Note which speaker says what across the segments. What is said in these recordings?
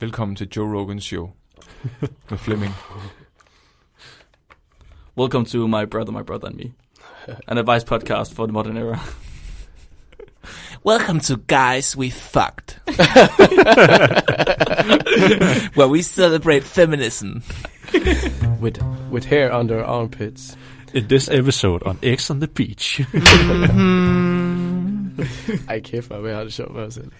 Speaker 1: Velkommen til Joe Rogans show med Flemming.
Speaker 2: Welcome to My Brother, My Brother and Me, an advice podcast for the modern era.
Speaker 3: Welcome to Guys We Fucked, where we celebrate feminism.
Speaker 4: with with hair under armpits.
Speaker 5: In this episode on X on the Beach.
Speaker 4: Ej kæft, hvor jeg har det sjovt med os selv.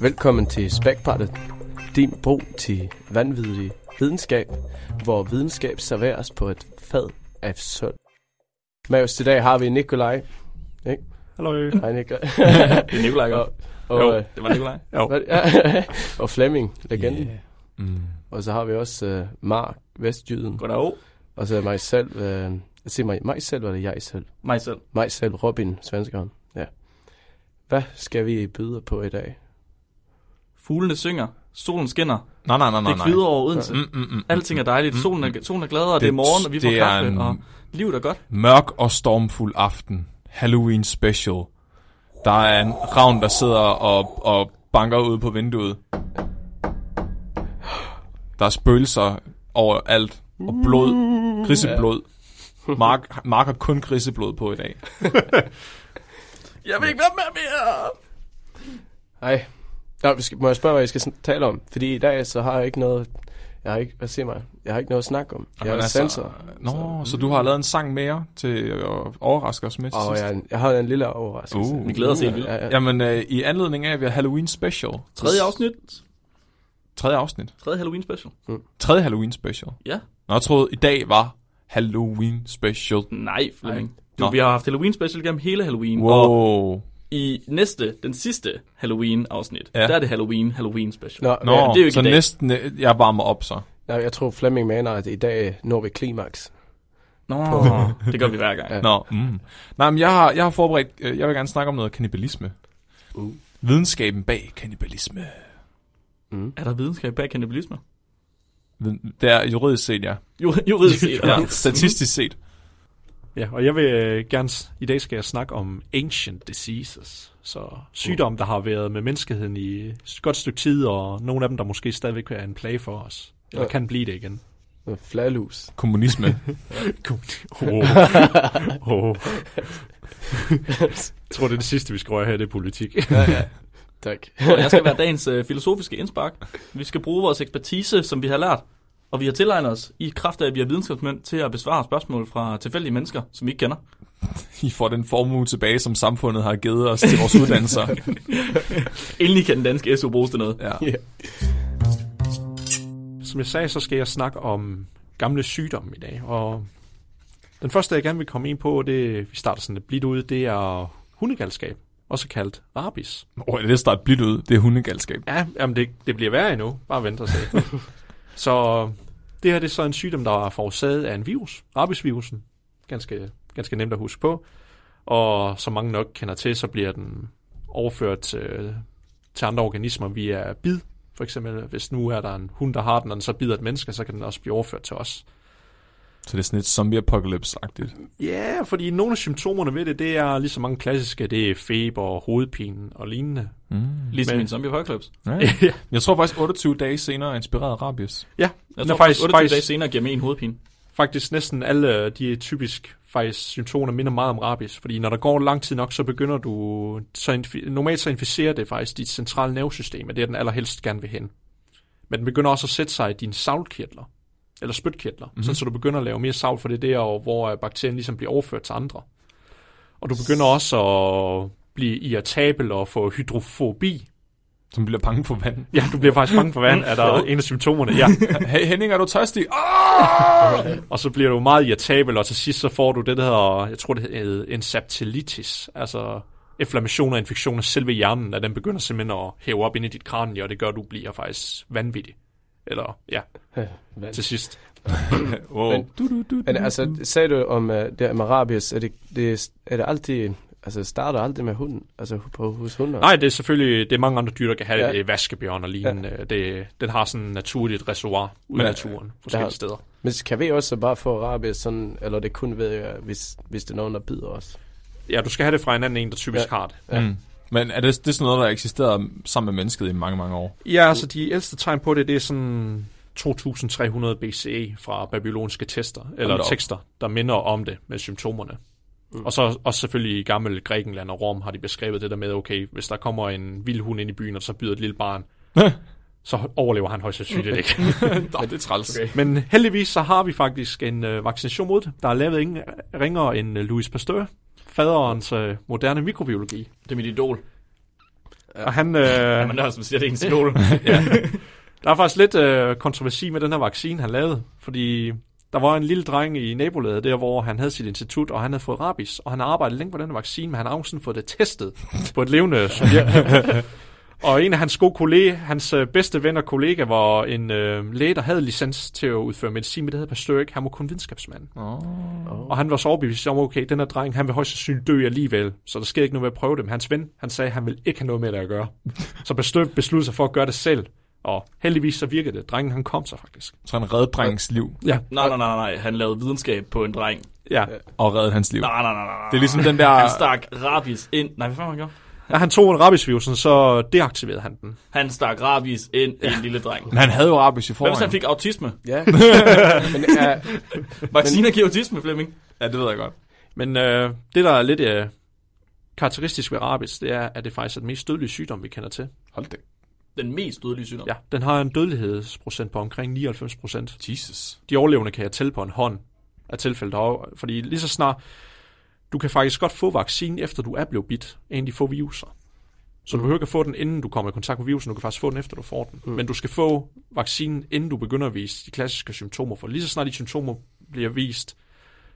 Speaker 4: Velkommen til Spækpartet, din bro til vanvittig videnskab, hvor videnskab serveres på et fad af sølv. Med os i dag har vi Nikolaj.
Speaker 5: Hallo.
Speaker 4: Hej Nikolaj.
Speaker 2: Det er Nikolaj, ikke?
Speaker 4: og, og, øh,
Speaker 2: Det var Nikolaj.
Speaker 4: hvad- ja, og Flemming, legenden. Yeah.
Speaker 1: Mm.
Speaker 4: Og så har vi også øh, Mark, Vestjyden.
Speaker 2: Goddag.
Speaker 4: Og så mig selv. Øh, se mig, mig selv, var det jeg selv.
Speaker 2: Mig selv.
Speaker 4: Mig selv, Robin, svenskeren. Ja. Hvad skal vi byde på i dag?
Speaker 2: Fuglene synger, solen skinner,
Speaker 1: Nej, nej, nej, nej.
Speaker 2: det kvider over Odense.
Speaker 1: nej. Mm, mm, mm.
Speaker 2: Alting er dejligt, solen er, solen er glad, og det, er morgen, og vi får
Speaker 1: det er
Speaker 2: kaffe,
Speaker 1: en
Speaker 2: og livet er godt.
Speaker 1: mørk og stormfuld aften. Halloween special. Der er en ravn, der sidder og, og banker ud på vinduet. Der er spøgelser over alt. Og blod. Griseblod. Mark, Mark har kun griseblod på i dag.
Speaker 2: Jeg vil ikke være med mere!
Speaker 4: Hej. Nå, vi skal, må jeg spørge, hvad I skal sn- tale om? Fordi i dag, så har jeg ikke noget... Jeg har ikke, hvad siger mig? Jeg har ikke noget at snakke om. Jeg
Speaker 1: Men
Speaker 4: er
Speaker 1: altså,
Speaker 4: sensor.
Speaker 1: Nå, så, så du har lavet en sang mere til at overraske os med til
Speaker 4: Og
Speaker 1: sidst.
Speaker 4: jeg, er en- jeg har en lille overraskelse.
Speaker 1: Uh.
Speaker 2: Vi glæder os helt vildt.
Speaker 4: Ja, ja.
Speaker 1: Jamen, øh, i anledning af, at vi har Halloween special.
Speaker 2: Tredje afsnit,
Speaker 1: Tredje afsnit.
Speaker 2: tredje Halloween special.
Speaker 1: Tredje Halloween special.
Speaker 2: Ja.
Speaker 1: Nå, jeg troede, i dag var Halloween special.
Speaker 2: Nej, Flemming.
Speaker 1: Nå.
Speaker 2: Du, vi har haft Halloween special gennem hele Halloween, og
Speaker 1: Wow.
Speaker 2: i næste, den sidste Halloween-afsnit,
Speaker 1: Ja.
Speaker 2: der er det Halloween, Halloween special.
Speaker 4: Nå,
Speaker 1: Nå,
Speaker 4: ja,
Speaker 1: ja,
Speaker 2: det er jo ikke
Speaker 1: så
Speaker 2: i dag.
Speaker 1: næsten, øh, jeg varmer op så.
Speaker 4: Nå, jeg tror Flemming mener, at i dag når vi klimaks.
Speaker 2: Nå, det gør vi hver gang.
Speaker 4: Ja.
Speaker 1: Nå, mm. Nej, men jeg har, jeg har forberedt, øh, jeg vil gerne snakke om noget kannibalisme.
Speaker 4: Uh.
Speaker 1: Videnskaben bag kannibalisme.
Speaker 4: Mm.
Speaker 2: Er der videnskab bag kannibalisme?
Speaker 1: Viden- Det er juridisk set, ja.
Speaker 2: Jo, juridisk set.
Speaker 1: ja. Statistisk set.
Speaker 5: Ja, og jeg vil øh, gerne, s- i dag skal jeg snakke om ancient diseases. Så sygdomme, der har været med menneskeheden i et godt stykke tid, og nogle af dem, der måske stadigvæk er en plage for os. Eller
Speaker 4: Ja.
Speaker 5: kan blive det igen.
Speaker 4: Fladlus.
Speaker 1: Kommunisme.
Speaker 5: oh. oh. jeg tror, det er det sidste, vi skal røre her, det er politik.
Speaker 4: Ja, ja. tak.
Speaker 2: Og jeg skal være dagens øh, filosofiske indspark. Vi skal bruge vores ekspertise, som vi har lært, og vi har tilegnet os i kraft af, at vi er videnskabsmænd til at besvare spørgsmål fra tilfældige mennesker, som vi ikke kender.
Speaker 1: I får den formue tilbage, som samfundet har givet os til vores uddannelser.
Speaker 2: Endelig kan den danske SU bruges til noget.
Speaker 1: Ja.
Speaker 5: Som jeg sagde, så skal jeg snakke om gamle sygdomme i dag. Og den første, jeg gerne vil komme ind på, det vi starter sådan lidt blidt ud, det er hundegalskab, også kaldt rabies.
Speaker 1: Oh, det starter blidt ud. Det er hundegalskab.
Speaker 5: Ja, jamen det, det bliver værre endnu. Bare vent og se. så øh, det her det er så en sygdom, der er forårsaget af en virus, rabiesvirusen. Ganske, ganske nemt at huske på. Og som mange nok kender til, så bliver den overført til, til andre organismer via bid. For eksempel, hvis nu er der en hund, der har den, og den så bider et menneske, så kan den også blive overført til os.
Speaker 1: Så det er sådan lidt zombie-apocalypse-agtigt.
Speaker 5: Ja, yeah, fordi nogle af symptomerne ved det, det er lige så mange klassiske, det er feber, hovedpine og lignende.
Speaker 1: Mm.
Speaker 2: Ligesom
Speaker 5: Men-
Speaker 2: Men. en zombie apocalypse.
Speaker 1: Ja. Jeg tror faktisk 28 dage senere inspirerede rabies.
Speaker 5: Ja,
Speaker 2: Jeg
Speaker 5: den er
Speaker 2: tror faktisk 28 dage senere giver mig en hovedpine.
Speaker 5: faktisk næsten alle øh, de er typisk faktisk symptomer minder meget om rabies, fordi når der går lang tid nok, så begynder du, så infi- normalt så inficerer det faktisk dit centrale nervesystem, og det er den allerhelst gerne vil hen. Men den begynder også at sætte sig i dine savlkirtler, eller spytkirtler, mm-hmm. sådan, så du begynder at lave mere savl, for det er der, og hvor øh, bakterien ligesom bliver overført til andre. Og du begynder også at blive irritabel og få hydrofobi.
Speaker 1: Som bliver bange for vand.
Speaker 5: Ja, du bliver faktisk bange for vand, er der en af symptomerne. Ja.
Speaker 1: Hey Henning, er du tørstig? Oh!
Speaker 5: Og så bliver du meget irritabel, og til sidst så får du det, der hedder, jeg tror det hedder en septilitis, altså inflammation og infektion af selve hjernen, at den begynder simpelthen at hæve op ind i dit kranie, og det gør, at du bliver faktisk vanvittig. Eller, ja,
Speaker 4: Hvad?
Speaker 5: til sidst.
Speaker 1: Wow. Mm,
Speaker 4: altså, øh, Men- Men altså, sagde du om uh, det med rabies, er det, det, er det altid altså starter aldrig med hunden, altså på, hos hunden.
Speaker 5: Nej, det er selvfølgelig det er mange andre dyr, der kan have
Speaker 4: Ja.
Speaker 5: ja. det. Vaskebjørn og lignende. Ja. Det, den har sådan et naturligt reservoir ude i
Speaker 1: Men,
Speaker 5: naturen forskellige
Speaker 4: der-
Speaker 5: steder.
Speaker 4: Men kan vi også bare få rabies sådan, eller det er kun ved, øh, hvis, hvis det er nogen, der bider os?
Speaker 5: Ja, du skal have det fra en anden en, der typisk ja. har det.
Speaker 1: Ja. Mm. Men er det, det er sådan noget, der eksisterer sammen med mennesket i mange, mange år?
Speaker 5: Ja, altså de ældste tegn på det, det er sådan 2300 BCE E fra babylonske tester, eller
Speaker 1: da op.
Speaker 5: tekster, der minder om det med symptomerne. Mm. Og så også selvfølgelig i gammel Grækenland og Rom har de beskrevet det der med, okay, hvis der kommer en vild hund ind i byen, og så byder et lille barn, så overlever han højst sandsynligt ikke.
Speaker 1: Nå, det er træls. Okay.
Speaker 5: Men heldigvis så har vi faktisk en øh, vaccination mod det. Der er lavet ingen ringer end øh, Louis Pasteur, faderens øh, moderne mikrobiologi.
Speaker 2: Det er mit idol.
Speaker 5: Og han, øh,
Speaker 2: Jamen, der er som siger, det er ens idol.
Speaker 5: Der er faktisk lidt øh, kontroversi med den her vaccine, han lavede, fordi der var en lille dreng i nabolaget der, hvor han havde sit institut, og han havde fået rabies, og han har arbejdet længe på den her vaccine, men han har også sådan fået det testet på et levende subjekt. og en af hans gode kolleger, hans øh, bedste ven og kollega, var en øh, læge, der havde licens til at udføre medicin, men det havde Pasteur ikke, han var kun videnskabsmand. Og han var så overbevist om, okay, den her dreng, han vil højst sandsynligt dø alligevel, så der sker ikke noget med at prøve det. Men hans ven, han sagde, at han vil ikke have noget med det at gøre. Så Pasteur besluttede sig for at gøre det selv. Og heldigvis så virkede det. Drengen, han kom sig faktisk.
Speaker 1: Så han reddede drengens liv
Speaker 5: Ja.
Speaker 2: nej, nej, nej, nej. Han lavede videnskab på en dreng.
Speaker 5: Ja.
Speaker 1: og reddede hans liv.
Speaker 2: Nej, nej, nej, nej.
Speaker 1: Det er ligesom den
Speaker 2: Han
Speaker 1: der...
Speaker 2: stak rabies ind. Nej, hvad fanden han gjorde?
Speaker 5: ja. Han tog en rabiesvirusen, så deaktiverede han den.
Speaker 2: Han stak rabies ind i en lille dreng.
Speaker 1: Men han havde jo rabies i
Speaker 2: Hvad hvis
Speaker 1: forvejen.
Speaker 2: han fik autisme?
Speaker 4: Ja. Men er,
Speaker 2: Vacciner giver autisme, Flemming.
Speaker 1: Ja, det ved jeg godt.
Speaker 5: Men øh, det, der er lidt øh, karakteristisk ved rabies, det er, at det faktisk er den mest dødelige sygdom, vi kender til.
Speaker 1: Hold det.
Speaker 2: Den mest dødelige sygdom.
Speaker 5: Ja. Den har en dødelighedsprocent på omkring 99 procent.
Speaker 1: Jesus.
Speaker 5: de overlevende kan jeg tælle på en hånd af tilfælde derovre. Fordi lige så snart, du kan faktisk godt få vaccinen, efter du er blevet bidt af en af de få viruser. Så du behøver ikke at få den, inden du kommer i kontakt med virusen. Du kan faktisk få den, efter du får den. Mm. Men du skal få vaccinen, inden du begynder at vise de klassiske symptomer. For lige så snart de symptomer bliver vist,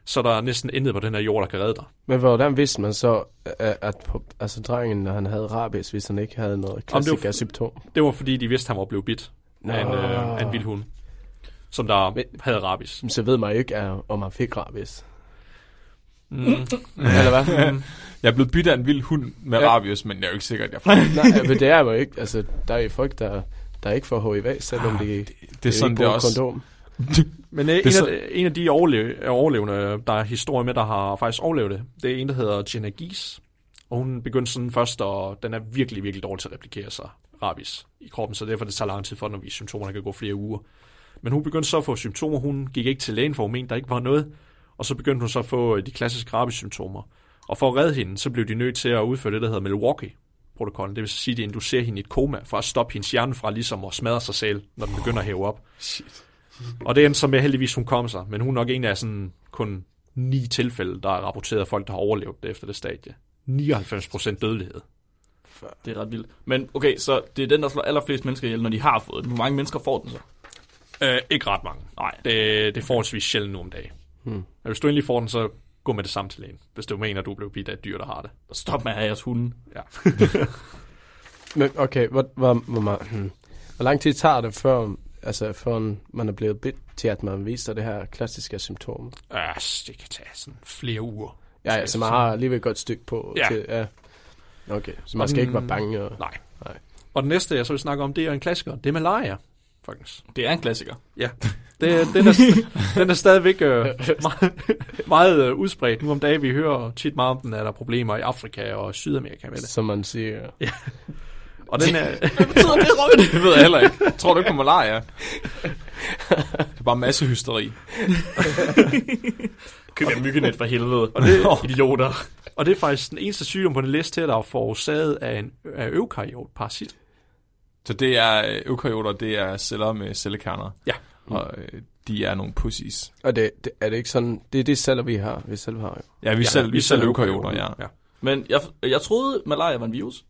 Speaker 5: så er der næsten intet på den her jord, der kan redde dig.
Speaker 4: men hvordan vidste man så, øh, at, at på, altså, drengen, når han havde rabies, hvis han ikke havde noget
Speaker 5: var-
Speaker 4: klassiker symptom?
Speaker 5: Det var fordi, de vidste, at han var blevet bidt af en, øh, af en vild hund, som der
Speaker 4: Ah. Men-
Speaker 5: havde rabies.
Speaker 4: Så ved man jo ikke, at, om han fik rabies.
Speaker 5: Mm.
Speaker 4: Eller hvad?
Speaker 1: Jeg er blevet bidt af en vild hund med
Speaker 4: Ja.
Speaker 1: ja. rabies, men jeg er jo ikke sikker, at jeg får det.
Speaker 4: Nej, men det er man jo ikke. Altså, der er jo folk, der, der ikke får HIV, selvom de, det,
Speaker 1: Det er sådan,
Speaker 4: ikke
Speaker 1: det er
Speaker 4: bruger
Speaker 1: også...
Speaker 4: kondom.
Speaker 5: Men øh, en,
Speaker 1: er
Speaker 5: af,
Speaker 1: så-
Speaker 5: en af de overle- overlevende, der er historie med, der har faktisk overlevet det, det er en, der hedder Jenna Gies. Og hun begyndte sådan først, og den er virkelig, virkelig dårlig til at replikere sig rabies i kroppen, så derfor det tager lang tid for den at vise symptomer, der kan gå flere uger. Men hun begyndte så at få symptomer, hun gik ikke til lægen, for hun mente, der ikke var noget, og så begyndte hun så at få øh, de klassiske rabies-symptomer. Og for at redde hende, så blev de nødt til at udføre det, der hedder Milwaukee-protokollen. Det vil sige, at de inducerer hende i et koma, for at stoppe hendes hjerne fra ligesom at smadre sig selv, når den begynder at hæve op. Og det endte så med, at heldigvis hun kom sig, men hun er nok en af sådan kun ni tilfælde, der er rapporteret af folk, der har overlevet det efter det stadie. 99% dødelighed.
Speaker 2: Det er ret vildt. Men okay, så det er den, der slår allerflest mennesker ihjel, når de har fået den. Hvor mange mennesker får den så?
Speaker 5: Øh, ikke ret mange.
Speaker 2: Nej.
Speaker 5: Det, det er forholdsvis sjældent nu om dagen. Hmm. Hvis du endelig får den, så gå med det samme til lægen, hvis du mener, at du blev bidt af et dyr, der har det.
Speaker 2: Stop med at have jeres hunde.
Speaker 5: Ja.
Speaker 4: Men okay, hvor, hvor, hvor, meget- hmm. hvor lang tid tager det, før, altså, før man er blevet bidt til, at man viser det her klassiske symptom?
Speaker 5: Øh, det kan tage sådan flere uger.
Speaker 4: Ja, ja, så man har alligevel et godt stykke på.
Speaker 5: Ja.
Speaker 4: Til, ja. Okay, så man skal ikke være bange. Og,
Speaker 5: Nej.
Speaker 4: Nej.
Speaker 5: Og den næste, jeg så vil snakke om, det er en klassiker. Det er malaria, faktisk.
Speaker 2: Det er en klassiker.
Speaker 5: Ja, det, den, er, den er stadigvæk øh, meget, meget øh, udspredt. Nu om dagen, vi hører tit meget om den, at der er problemer i Afrika og Sydamerika med det.
Speaker 4: som man siger.
Speaker 5: Og den er,
Speaker 2: Betyder det, Robin?
Speaker 1: Det ved jeg heller ikke. Tror du ikke på malaria? Det er bare masse hysteri.
Speaker 2: Køb jer myggenet for helvede.
Speaker 5: og, det,
Speaker 2: Idioter.
Speaker 5: og det er faktisk den eneste sygdom på den liste her, der er forårsaget af en af eukaryot parasit.
Speaker 1: Så det er øh, eukaryoter, det er celler med cellekerner.
Speaker 5: Ja.
Speaker 1: Og øh, de er nogle pussies.
Speaker 4: Og det, det, er det ikke sådan, det er det celler, vi har, vi selv har jo.
Speaker 1: Ja, vi ja, selv, vi selv eukaryoter, ja.
Speaker 5: ja.
Speaker 2: Men jeg, jeg troede, malaria var en virus.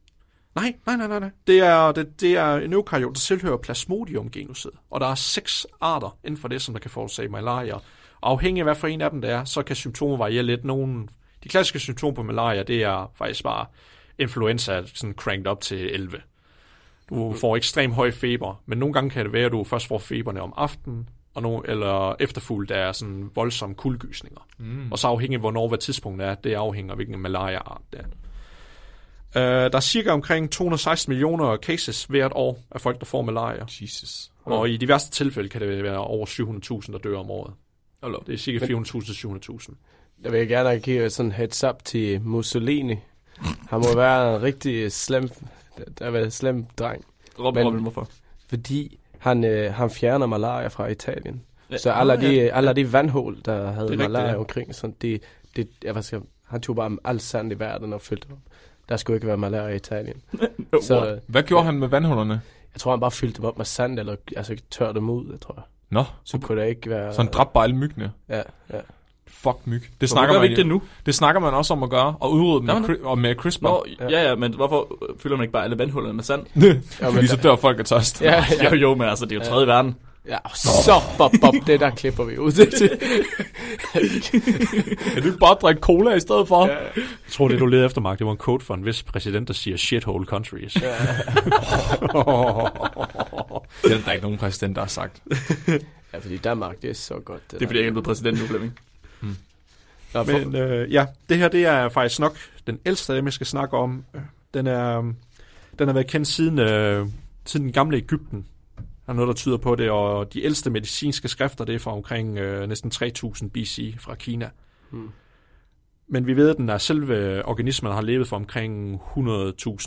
Speaker 5: Nej, nej, nej, nej, nej. Det er, det, det er en eukaryot, der tilhører plasmodium-genuset. Og der er seks arter inden for det, som der kan forårsage malaria. Og afhængig af, hvad for en af dem det er, så kan symptomer variere lidt. Nogle, de klassiske symptomer på malaria, det er faktisk bare influenza sådan cranked op til 11. Du får ekstrem høj feber, men nogle gange kan det være, at du først får feberne om aftenen, og no, eller efterfulgt af sådan voldsomme kuldgysninger. Mm. Og så afhængig af, hvornår hvad tidspunkt er, det afhænger af, hvilken malaria-art det er. Uh, der er cirka omkring 216 millioner cases hvert år af folk, der får malaria.
Speaker 1: Jesus.
Speaker 5: Og i de værste tilfælde kan det være over 700.000, der dør om året.
Speaker 2: Hold op.
Speaker 5: Det er cirka 400.000 til 700.000.
Speaker 4: Der vil jeg gerne give sådan heads up til Mussolini. Han må være en rigtig slem, der var slem dreng.
Speaker 2: Rob,
Speaker 4: Men-
Speaker 2: Rob, hvorfor?
Speaker 4: Fordi han, øh, han fjerner malaria fra Italien.
Speaker 2: Ja.
Speaker 4: Så alle
Speaker 2: Nå, ja.
Speaker 4: de, alle de vandhul, der havde
Speaker 5: rigtigt,
Speaker 4: malaria
Speaker 5: ja.
Speaker 4: omkring, sådan, det, det, jeg var, skal, han tog bare alt sand i verden og fyldte dem op. Der skulle ikke være malaria i Italien. så øh,
Speaker 1: Hvad gjorde han med vandhullerne?
Speaker 4: jeg tror, han bare fyldte dem op med sand, eller altså, tørrede dem ud, jeg tror jeg.
Speaker 1: Nå,
Speaker 4: Så kunne der ikke være...
Speaker 1: så han dræbte bare alle myggene.
Speaker 4: Ja, ja.
Speaker 1: Fuck myg. Det
Speaker 2: Hvorfor
Speaker 1: snakker,
Speaker 2: gør vi
Speaker 1: man,
Speaker 2: ikke det nu?
Speaker 1: det snakker man også om at gøre, og udrydde dem
Speaker 2: Gør
Speaker 1: med,
Speaker 2: man
Speaker 1: cri- og med CRISPR.
Speaker 2: Nå, ja, ja, men hvorfor øh, fylder man ikke bare alle vandhullerne med sand?
Speaker 1: fordi så dør folk af tørst.
Speaker 4: Ja, ja.
Speaker 2: Jo, jo, men altså, det er jo tredje verden.
Speaker 4: ja så bop, bop, det der klipper vi ud.
Speaker 1: Kan du ikke bare drikke cola i stedet for? Ja.
Speaker 5: Jeg tror, det du leder efter, Mark, det var en quote fra en vis præsident, der siger shithole countries.
Speaker 1: Det er der ikke nogen præsident, der har sagt.
Speaker 4: ja, fordi Danmark, det er så godt.
Speaker 2: Det er fordi, jeg ikke er blevet præsident nu, Flemming.
Speaker 4: Nå, for,
Speaker 5: Men øh, ja, det her det er faktisk nok den ældste af dem, jeg skal snakke om. Den er øh, den har været kendt siden, øh, siden den gamle Ægypten. Der er noget, der tyder på det, og de ældste medicinske skrifter, det er fra omkring øh, næsten 3000 BC fra Kina.
Speaker 4: Hmm.
Speaker 5: Men vi ved, at den er selve organismen har levet for omkring 100.000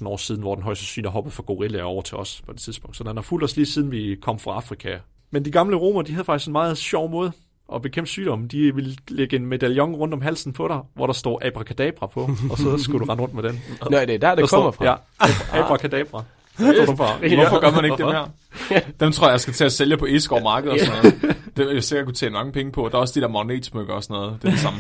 Speaker 5: år siden, hvor den højst sandsynligt har hoppet fra gorillaer over til os på det tidspunkt. Så den har fulgt os lige siden vi kom fra Afrika. Men de gamle romer, de havde faktisk en meget sjov måde at bekæmpe sygdommen. De ville lægge en medaljon rundt om halsen på dig, hvor der står abracadabra på, og så skulle du rende rundt med den.
Speaker 4: Nå, det er der, det
Speaker 5: Der
Speaker 4: kommer
Speaker 5: står-
Speaker 4: fra. Ah,
Speaker 5: Ja, abracadabra. Det du fra.
Speaker 1: Hvorfor gør man ikke dem her? Dem tror jeg, jeg skal til at sælge på Esgård Marked og sådan noget. Det vil jeg sikkert kunne tjene mange penge på. Der er også de der magnetsmykker og sådan noget. Det er det samme.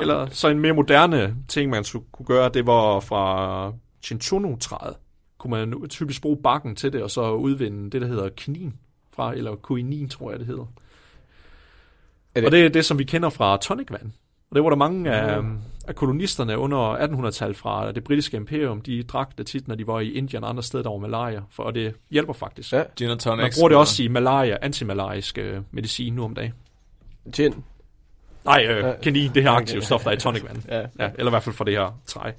Speaker 5: Eller så en mere moderne ting, man skulle kunne gøre, det var fra chinchonu-træet. Kunne man nu typisk bruge barken til det, og så udvinde det, der hedder kinin fra, eller koinin, tror jeg, det hedder.
Speaker 4: Er
Speaker 5: Det?
Speaker 4: det-
Speaker 5: Og det er det, som vi kender fra tonicvand. Og det var der mange af,
Speaker 4: Mm.
Speaker 5: af kolonisterne under 1800-tallet fra det britiske imperium, de drak det tit, når de var i Indien og andre steder, der var malaria, for, og det hjælper faktisk.
Speaker 4: Ja.
Speaker 1: Gin og tonic.
Speaker 5: Man bruger det også i malaria, antimalarisk øh, medicin nu om dagen.
Speaker 4: Gin.
Speaker 5: Nej, øh,
Speaker 4: Øh,
Speaker 5: kanin, det her aktive stof, der er i tonicvand.
Speaker 4: Ja.
Speaker 5: Ja, eller i hvert fald fra det her træ. Den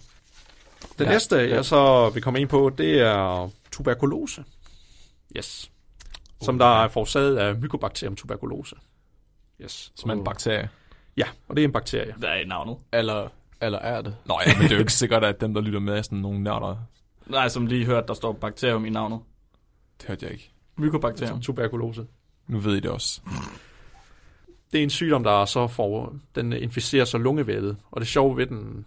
Speaker 4: Ja.
Speaker 5: ja. næste, jeg så vil komme ind på, det er tuberkulose. Yes. Som der er forårsaget af mykobakterium tuberkulose. Yes.
Speaker 1: Som er en bakterie.
Speaker 5: Ja, og det er en bakterie.
Speaker 2: Hvad er navnet?
Speaker 4: Eller, eller er det?
Speaker 1: Nå ja, men det er jo ikke sikkert, at dem, der lytter med, er sådan nogle nørder.
Speaker 2: Nej, som lige hørt, der står bakterium i navnet.
Speaker 1: Det hørte jeg ikke.
Speaker 2: Mykobakterium.
Speaker 5: Tuberkulose.
Speaker 1: Nu ved I det også.
Speaker 5: Det er en sygdom, der så får, den inficerer så lungevævet. Og det sjove ved den,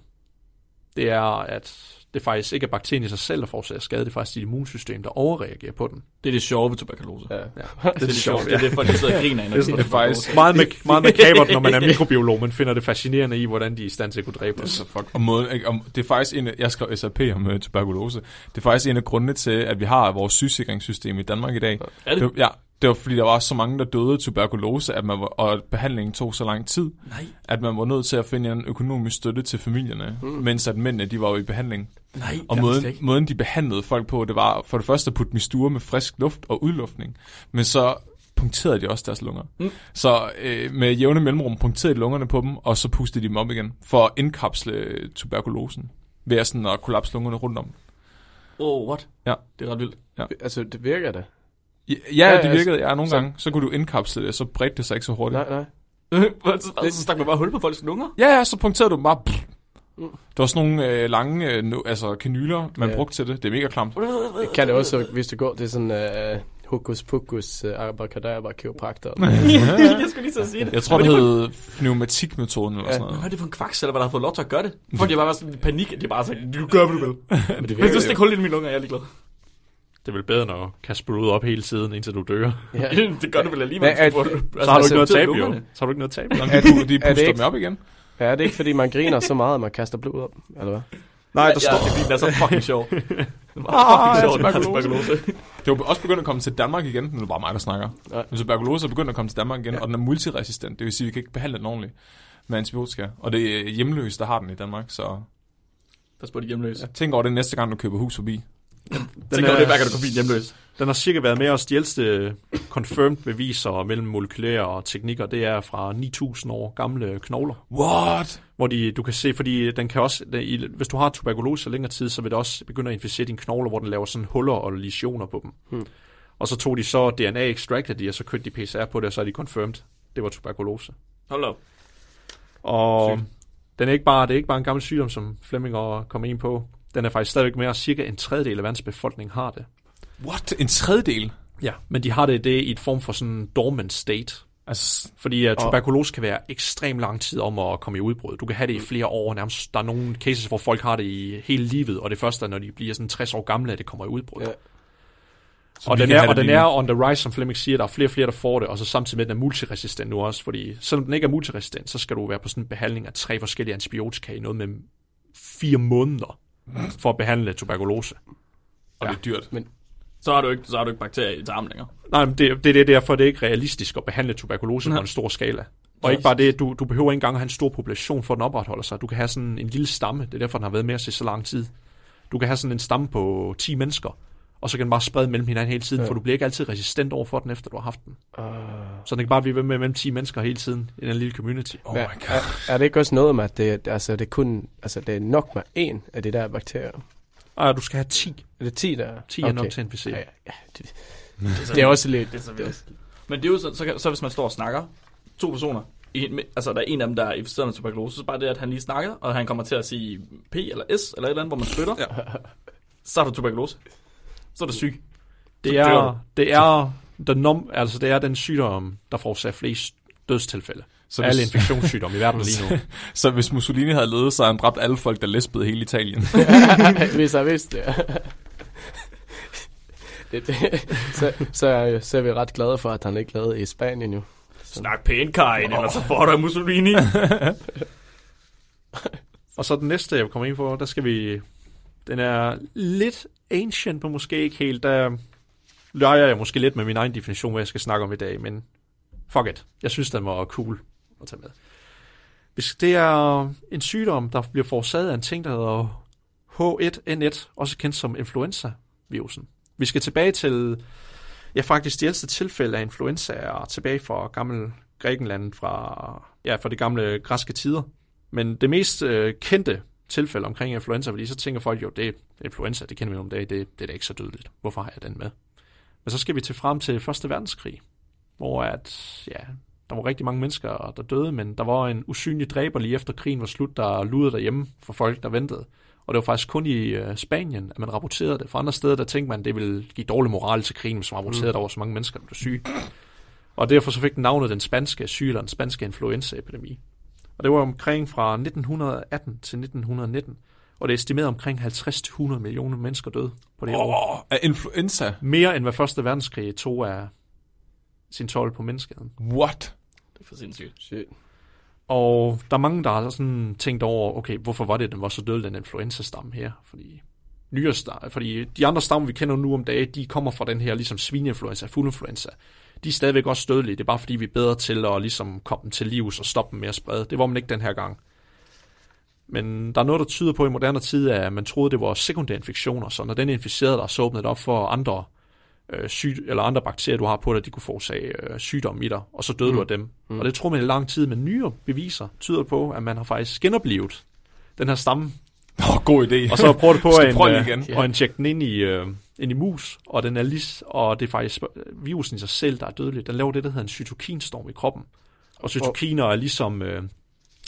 Speaker 5: det er, at det faktisk ikke er bakterien i sig selv, der forårsager skade. Det er faktisk dit immunsystem, der overreagerer på den.
Speaker 2: Det er det sjove ved tuberkulose.
Speaker 4: Ja.
Speaker 2: Det er det sjove. Det er det, folk de sidder og griner af, når de
Speaker 1: Det
Speaker 2: får
Speaker 1: er faktisk...
Speaker 5: Meget, mak- meget makabert, når man er mikrobiolog. Man finder det fascinerende i, hvordan de er i stand til at kunne dræbe os.
Speaker 1: Så fuck. Og måden, ikke, om, det er faktisk en af, jeg skrev SAP om uh, tuberkulose. Det er faktisk en af grundene til, at vi har vores sygesikringssystem i Danmark i dag.
Speaker 2: Er det?
Speaker 1: det ja, det var fordi, der var så mange, der døde af tuberkulose, at man var, og at behandlingen tog så lang tid,
Speaker 2: Nej,
Speaker 1: at man var nødt til at finde en økonomisk støtte til familierne, mm. mens at mændene, de var jo i behandling.
Speaker 2: Hmm. nej.
Speaker 1: Og måden, måden, de behandlede folk på, det var for det første at putte misture med frisk luft og udluftning, men så punkterede de også deres lunger. Mm. Så øh, med jævne mellemrum punkterede de lungerne på dem, og så pustede de dem op igen, for at indkapsle øh, tuberkulosen, ved at, sådan, at kollapse lungerne rundt om.
Speaker 2: Oh, what?
Speaker 1: Ja.
Speaker 2: Det er ret vildt.
Speaker 4: Altså, det virker det.
Speaker 1: Ja, ja,
Speaker 4: Ja,
Speaker 1: det
Speaker 4: ja,
Speaker 1: virkede, ja, nogle
Speaker 4: så-
Speaker 1: gange. Så kunne du indkapsle det, og så bredte det sig ikke så hurtigt.
Speaker 4: Nej, nej.
Speaker 2: så stak man bare hul på folks lunger?
Speaker 1: Ja, ja, så punkterede du dem bare. Pff. Der var sådan nogle øh, lange øh, nu- altså, kanyler, man
Speaker 4: Mm. Ja.
Speaker 1: brugte til det. Det er mega klamt.
Speaker 4: Det kan det også, hvis du går til sådan uh, hokus pokus uh, abacadabra kiropraktor.
Speaker 2: jeg skulle lige så sige det.
Speaker 1: Jeg tror, det hed pneumatikmetoden eller
Speaker 4: Ja.
Speaker 1: sådan noget.
Speaker 2: Hvad er det for en kvaksalver, der har fået lov til at gøre det? Folk de har bare været sådan i panik, at de bare sagde, du gør, hvad du vil.
Speaker 4: Men det
Speaker 2: Hvis du
Speaker 4: virker
Speaker 2: stikker hul i mine lunger, jeg er ligeglad.
Speaker 5: Det er vel bedre, når at kaste blod op hele tiden, indtil du dør.
Speaker 4: jo. Ja.
Speaker 2: det gør du vel alligevel.
Speaker 4: Men er-
Speaker 2: hvis du får det.
Speaker 5: Så har du
Speaker 4: altså,
Speaker 5: ikke noget at
Speaker 2: til
Speaker 5: tabe, jo.
Speaker 2: lungerne.
Speaker 5: Så har du ikke noget at tabe.
Speaker 1: Nå, men de, pu- de
Speaker 4: er det
Speaker 1: puster
Speaker 4: ikke-
Speaker 1: dem op igen.
Speaker 4: Ja, er det ikke, fordi man griner så meget, at man kaster blod op? Eller
Speaker 1: Oh
Speaker 4: hvad?
Speaker 5: Nej, der
Speaker 2: ja,
Speaker 5: står...
Speaker 2: det er fordi, den er så fucking sjov. Den var fucking
Speaker 1: Ah,
Speaker 2: sjov, den her
Speaker 1: tuberkulose.
Speaker 2: tuberkulose.
Speaker 1: Det er jo også begyndt at komme til Danmark igen. Nu er det bare mig, der snakker.
Speaker 4: Nej.
Speaker 1: Men tuberkulose er begyndt at komme til Danmark igen, ja. og den er multiresistent. Det vil sige, at vi kan ikke behandle den ordentligt med antibiotika. Og det er hjemløse, der har den i Danmark, så
Speaker 2: Pas på de hjemløse.
Speaker 1: tænk over det næste gang, du køber hus forbi.
Speaker 2: Tænk over det, hver gang du kommer forbi en hjemløs.
Speaker 5: Den har cirka været med os. De ældste confirmed beviser mellem molekylære og teknikker, det er fra 9000 år gamle knogler
Speaker 1: What?
Speaker 5: hvor de, du kan se, fordi den kan også, den, i- hvis du har tuberkulose længere tid, så vil det også begynde at inficere dine knogler, hvor den laver sådan huller og lesioner på dem. Hmm. Og så tog de så DNA extracted de, og så kørte de PCR på det, og så er de confirmed, det var tuberkulose.
Speaker 2: Hold op.
Speaker 5: Og den er ikke bare, det er ikke bare en gammel sygdom, som Flemming og kommer ind på. Den er faktisk stadigvæk mere, cirka en tredjedel af verdens befolkning har det.
Speaker 1: What? En tredjedel?
Speaker 5: Ja, men de har det, det i et form for sådan en dormant state.
Speaker 1: Altså,
Speaker 5: Fordi uh, tuberkulose kan være ekstrem lang tid om at komme i udbrud. Du kan have det i
Speaker 1: Mm.
Speaker 5: flere år. Nærmest, der er nogle cases, hvor folk har det i hele livet, og det første er, når de bliver sådan 60 år gamle, at det kommer i udbrud.
Speaker 4: Ja.
Speaker 5: Ja.
Speaker 1: så
Speaker 5: Og
Speaker 1: vi
Speaker 5: den,
Speaker 1: kan
Speaker 5: er,
Speaker 1: have
Speaker 5: og
Speaker 1: det
Speaker 5: den
Speaker 1: lige
Speaker 5: er
Speaker 1: nu.
Speaker 5: on the rise, som Flemming siger. Der er flere og flere, der får det, og så samtidig med, at den er multiresistent nu også. Fordi selvom den ikke er multiresistent, så skal du være på sådan en behandling af tre forskellige antibiotika i noget med fire måneder for at behandle tuberkulose.
Speaker 1: Mm. Og det er dyrt.
Speaker 2: Så har du ikke, så har du ikke bakterier i tarmen længere.
Speaker 5: Nej, men det, det, det er derfor, det er ikke realistisk at behandle tuberkulose på
Speaker 2: Nej.
Speaker 5: en stor skala. Og ikke bare det, du, du behøver ikke engang at have en stor population for, at den opretholder sig. Du kan have sådan en lille stamme, det er derfor, den har været med os i så lang tid. Du kan have sådan en stamme på 10 mennesker, og så kan den bare sprede mellem hinanden hele tiden, ja. for du bliver ikke altid resistent over for den, efter du har haft den. Uh. Så den kan bare blive ved med mellem 10 mennesker hele tiden i den lille community.
Speaker 1: Oh
Speaker 4: Ja.
Speaker 1: my god.
Speaker 4: Er det ikke også noget med, at det, altså, det, er kun, altså, det er nok med en af de der bakterier?
Speaker 5: Og du skal have 10.
Speaker 4: Er det 10, der er?
Speaker 5: 10 okay. er nok til en PC.
Speaker 4: Ja,
Speaker 5: Ja,
Speaker 4: ja, ja. Det, det er også lidt...
Speaker 2: Det er så vildt. Men det er jo så, så, kan- så hvis man står og snakker, to personer, i en, altså der er en af dem, der er inficeret med tuberkulose, så bare det, at han lige snakker, og han kommer til at sige P eller S, eller et eller andet, hvor man spytter, ja. så har du tuberkulose. Så er du syg.
Speaker 5: Det,
Speaker 2: Så dør du.
Speaker 5: er, det, er, the nom, altså det er den sygdom, der forårsager flest dødstilfælde.
Speaker 1: Så
Speaker 5: Så Alle
Speaker 1: hvis,
Speaker 5: infektionssygdomme i verden lige nu.
Speaker 1: så hvis Mussolini havde ledet, så havde han dræbt alle folk, der lesbede hele Italien.
Speaker 4: Hvis jeg vidste det. det, det. Så, så, er- så er vi ret glade for, at han ikke lavede i Spanien jo.
Speaker 2: Snak pænt, Karin, oh. eller så får du Mussolini.
Speaker 5: Og så den næste, jeg kommer ind på, der skal vi... Den er lidt ancient, men måske ikke helt. Der leger jeg måske lidt med min egen definition, hvad jeg skal snakke om i dag, men fuck it. Jeg synes, den var cool at tage med. Hvis det er en sygdom, der bliver forårsaget af en ting, der hedder H1N1, også kendt som influenza-virusen. Vi skal tilbage til, ja faktisk de ældste tilfælde af influenza er tilbage fra gammel Grækenland, fra, ja, fra de gamle græske tider. Men det mest øh, kendte tilfælde omkring influenza, fordi så tænker folk jo, det er influenza, det kender vi om dagen, det, det er da ikke så dødeligt. Hvorfor har jeg den med? Men så skal vi til frem til Første Verdenskrig, hvor at, ja, der var rigtig mange mennesker, der døde, men der var en usynlig dræber lige efter krigen var slut, der ludede derhjemme for folk, der ventede. Og det var faktisk kun i øh, Spanien, at man rapporterede det. For andre steder, der tænkte man, det ville give dårlig moral til krigen, hvis man rapporterede, at der var så mange mennesker, der blev syge. Og derfor så fik den navnet den spanske syge, eller den spanske influenzaepidemi. Og det var omkring fra 1918 til 1919. Og det er estimeret omkring 50-100 millioner mennesker døde på det oh. år.
Speaker 1: Åh, af influenza?
Speaker 5: Mere end hvad Første Verdenskrig tog af sin tolv på menneskeheden.
Speaker 1: What?
Speaker 2: det er for sindssygt.
Speaker 4: Shit.
Speaker 5: Og der er mange, der har sådan tænkt over, okay, hvorfor var det, den var så død, den influenza-stamme her? Fordi, nyere stam, fordi de andre stammer, vi kender nu om dage, de kommer fra den her ligesom svineinfluenza, fugleinfluenza. De er stadigvæk også dødelige, det er bare fordi, vi er bedre til at ligesom komme dem til livs og stoppe dem med at sprede. Det var man ikke den her gang. Men der er noget, der tyder på i moderne tid, at man troede, det var sekundære infektioner, så når den inficerede dig, så åbnede det op for andre øh, syg, eller andre bakterier, du har på dig, de kunne forårsage øh, sygdom i dig, og så døde mm. du af dem. Mm. Og det tror man i lang tid, men nyere beviser tyder på, at man har faktisk genoplevet den her stamme.
Speaker 1: Åh, oh, god idé.
Speaker 5: Og så prøver du på
Speaker 1: Skal
Speaker 5: at
Speaker 1: prøve
Speaker 5: en, øh,
Speaker 1: den igen.
Speaker 5: igen. Og en tjekke den ind i, øh, ind i mus, og den er lige, og det er faktisk øh, virusen i sig selv, der er dødelig. Den laver det, der hedder en cytokinstorm i kroppen. Og cytokiner er ligesom... Øh,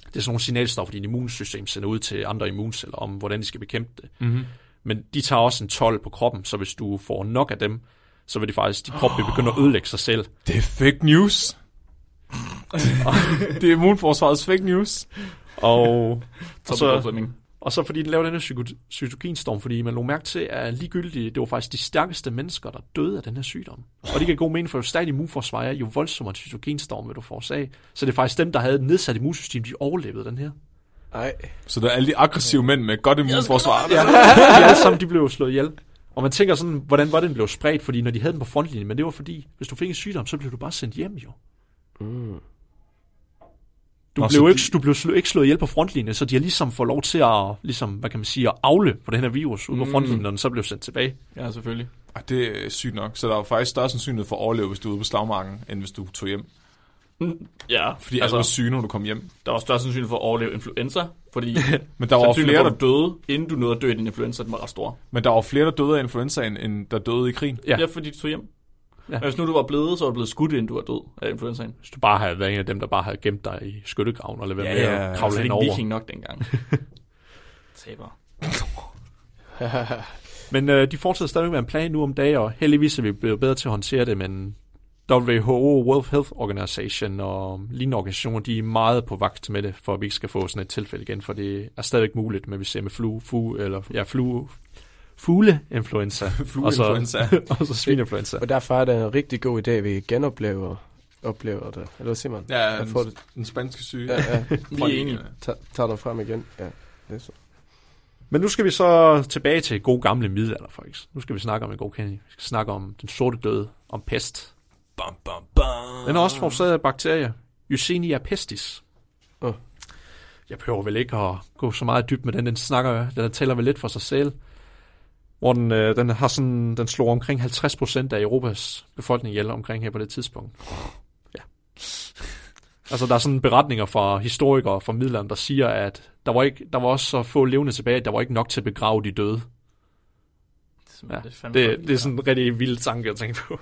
Speaker 5: det er sådan nogle signalstoffer, dit immunsystem sender ud til andre immunceller om, hvordan de skal bekæmpe det.
Speaker 1: Mm-hmm.
Speaker 5: Men de tager også en 12 på kroppen, så hvis du får nok af dem, så vil det faktisk, de krop vil begynde at ødelægge sig selv.
Speaker 1: Det er fake news. det er immunforsvarets fake news.
Speaker 5: Og,
Speaker 2: Så, så,
Speaker 5: og, så,
Speaker 2: Flemming.
Speaker 5: og så fordi den lavede den her psyko- cytokinstorm, fordi man lå mærke til, at ligegyldigt, det var faktisk de stærkeste mennesker, der døde af den her sygdom. Og det kan god mening, for jo stærkt immunforsvar er, jo voldsommere en cytokinstorm vil du forårsage. Så det er faktisk dem, der havde et nedsat immunsystem, de overlevede den her.
Speaker 4: Ej.
Speaker 1: Så der er alle de aggressive mænd med godt immunforsvar. Ja.
Speaker 5: de alle sammen de blev jo slået ihjel. Og man tænker sådan, hvordan var det, den blev spredt? Fordi når de havde den på frontlinjen, men det var fordi, hvis du fik en sygdom, så blev du bare sendt hjem jo. Du,
Speaker 1: Mm. Nå,
Speaker 5: Nå,
Speaker 1: så
Speaker 5: blev jo
Speaker 1: de-
Speaker 5: ikke, du blev slå, ikke slået ihjel på frontlinjen, så de har ligesom fået
Speaker 1: Mm.
Speaker 5: lov til at, ligesom, hvad kan man sige, at afle på den her virus ude på frontlinjen, når den så blev sendt tilbage.
Speaker 2: Ja, selvfølgelig.
Speaker 1: Ah, det er sygt nok. Så der er jo faktisk større sandsynlighed for at overleve, hvis du er ude på slagmarken, end hvis du tog hjem.
Speaker 2: Ja,
Speaker 1: Fordi altså, alle var syge, når du kom hjem.
Speaker 2: der var større sandsynlighed for at overleve influenza, fordi
Speaker 1: Men der, var jo
Speaker 2: sandsynligheden
Speaker 1: flere,
Speaker 2: for,
Speaker 1: der,
Speaker 2: at du døde, inden du nåede at dø i din influenza, den var ret stor.
Speaker 1: men der var flere, der døde af influenzaen, end der døde i krigen.
Speaker 5: Ja.
Speaker 2: Ja, ja fordi du tog hjem.
Speaker 5: Ja.
Speaker 2: Ja. Men hvis nu du var blevet, så var du blevet skudt, inden du var død af influenzaen.
Speaker 5: Hvis du bare havde været en af dem, der bare havde gemt dig i skyttegraven, eller hvad ja, med
Speaker 1: ja,
Speaker 5: at
Speaker 2: Altså,
Speaker 5: kravle
Speaker 2: det
Speaker 5: hen
Speaker 2: er
Speaker 5: over.
Speaker 2: ikke viking nok dengang. Taber.
Speaker 5: Men øh, de fortsætter stadig med en plan nu om dagen, og heldigvis er vi blevet bedre til at håndtere det, men WHO, World Health Organization og lignende organisationer, de er meget på vagt med det, for at vi ikke skal få sådan et tilfælde igen, for det er stadigvæk muligt, men vi ser med flu, flu eller ja, flu, fugleinfluenza, og så,
Speaker 1: Flueinfluenza.
Speaker 5: og så svineinfluenza.
Speaker 4: Og derfor er det en rigtig god idé, at vi genoplever oplever det. Eller hvad siger man?
Speaker 1: Ja,
Speaker 4: Jeg
Speaker 1: den,
Speaker 4: får det.
Speaker 1: den spanske syge.
Speaker 4: Ja, ja.
Speaker 2: Vi er enige.
Speaker 4: Ta- tager dig frem igen. Ja. Det er så.
Speaker 5: Men nu skal vi så tilbage til god gamle middelalder, faktisk. Nu skal vi snakke om en god kending. Vi skal snakke om den sorte død, om pest.
Speaker 1: Bam, bam, bam.
Speaker 5: Den er også forårsaget af bakterier. Yersinia pestis.
Speaker 4: Åh.
Speaker 5: Jeg behøver vel ikke at gå så meget dybt med den. Den snakker, den taler vel lidt for sig selv. Hvor den, øh, den, har sådan, den slog omkring 50% af Europas befolkning ihjel omkring her på det tidspunkt. Ja. Altså, der er sådan beretninger fra historikere fra middelalderen, der siger, at der var, ikke, der var også så få levende tilbage, at der var ikke nok til at begrave de døde.
Speaker 2: Ja,
Speaker 5: Ja,
Speaker 2: det, er fandme
Speaker 5: Det,
Speaker 2: fucking
Speaker 5: det er sådan en rigtig vild tanke at tænke på.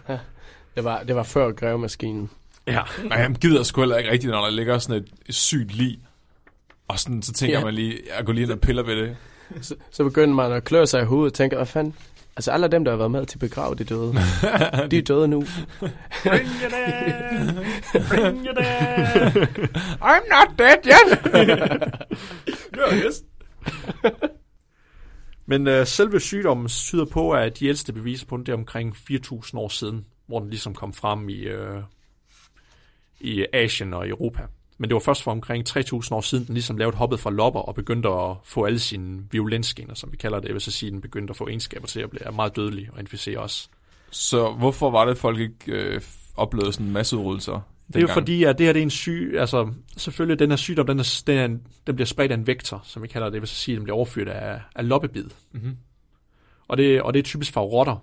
Speaker 4: Det var, det var før grævemaskinen.
Speaker 5: Ja.
Speaker 1: Nej, han gider sgu heller ikke rigtigt, når der ligger sådan et sygt lig. Og sådan, så tænker
Speaker 4: Ja.
Speaker 1: man lige, jeg går lige ind og piller ved det.
Speaker 4: Så, så begyndte man at klø sig i hovedet og tænke, hvad fanden? Altså alle dem, der har været med til at begrave de døde, de er døde nu.
Speaker 2: Bring it in! Bring it in!
Speaker 1: I'm not dead yet!
Speaker 2: You're yes.
Speaker 5: Men øh, selve sygdommen tyder på, at de ældste beviser på den, det er omkring 4.000 år siden, hvor den ligesom kom frem i, øh, i Asien og Europa. Men det var først for omkring 3.000 år siden, den ligesom lavede hoppet fra lopper og begyndte at få alle sine virulensgener, som vi kalder det. Jeg vil så sige, at den begyndte at få egenskaber til at blive meget dødelig og inficere os.
Speaker 1: Så hvorfor var det, at folk ikke øh, oplevede sådan en masse udryddelser?
Speaker 5: Det er jo fordi, at det her det er en syg, altså selvfølgelig den her sygdom, den, er, den, er en, den bliver spredt af en vektor, som vi kalder det, det vil så sige, at den bliver overført af, af loppebid.
Speaker 1: Mm-hmm.
Speaker 5: Og det, og det er typisk fra rotter,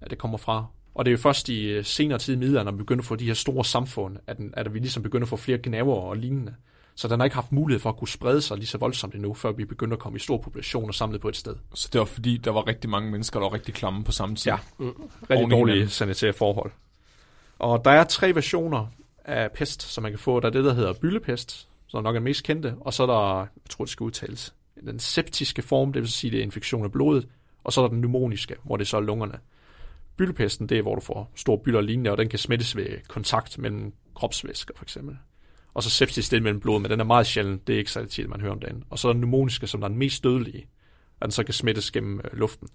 Speaker 5: at det kommer fra. Og det er jo først i øh, senere tid i middelalderen, når vi begynder at få de her store samfund, at, den, at vi ligesom begynder at få flere gnaver og lignende. Så den har ikke haft mulighed for at kunne sprede sig lige så voldsomt endnu, før vi begynder at komme i store populationer samlet på et sted.
Speaker 1: Så det var fordi, der var rigtig mange mennesker, der var rigtig klamme på samme tid.
Speaker 5: Ja.
Speaker 1: Oven
Speaker 5: Rigtig
Speaker 1: i
Speaker 5: dårlige
Speaker 1: hinanden.
Speaker 5: sanitære forhold. Og der er tre versioner af pest, som man kan få. Der er det, der hedder byllepest, som nok er den mest kendte, og så er der, jeg tror, det skal udtales, den septiske form, det vil sige, det er infektion af blodet, og så er der den pneumoniske, hvor det så er lungerne. Byllepesten, det er, hvor du får store byller og lignende, og den kan smittes ved kontakt mellem kropsvæsker, for eksempel. Og så sepsis, det er mellem blod, men den er meget sjældent, det er ikke særlig tit, man hører om den. Og så er den pneumoniske, som er den mest dødelige, at den så kan smittes gennem øh, luften.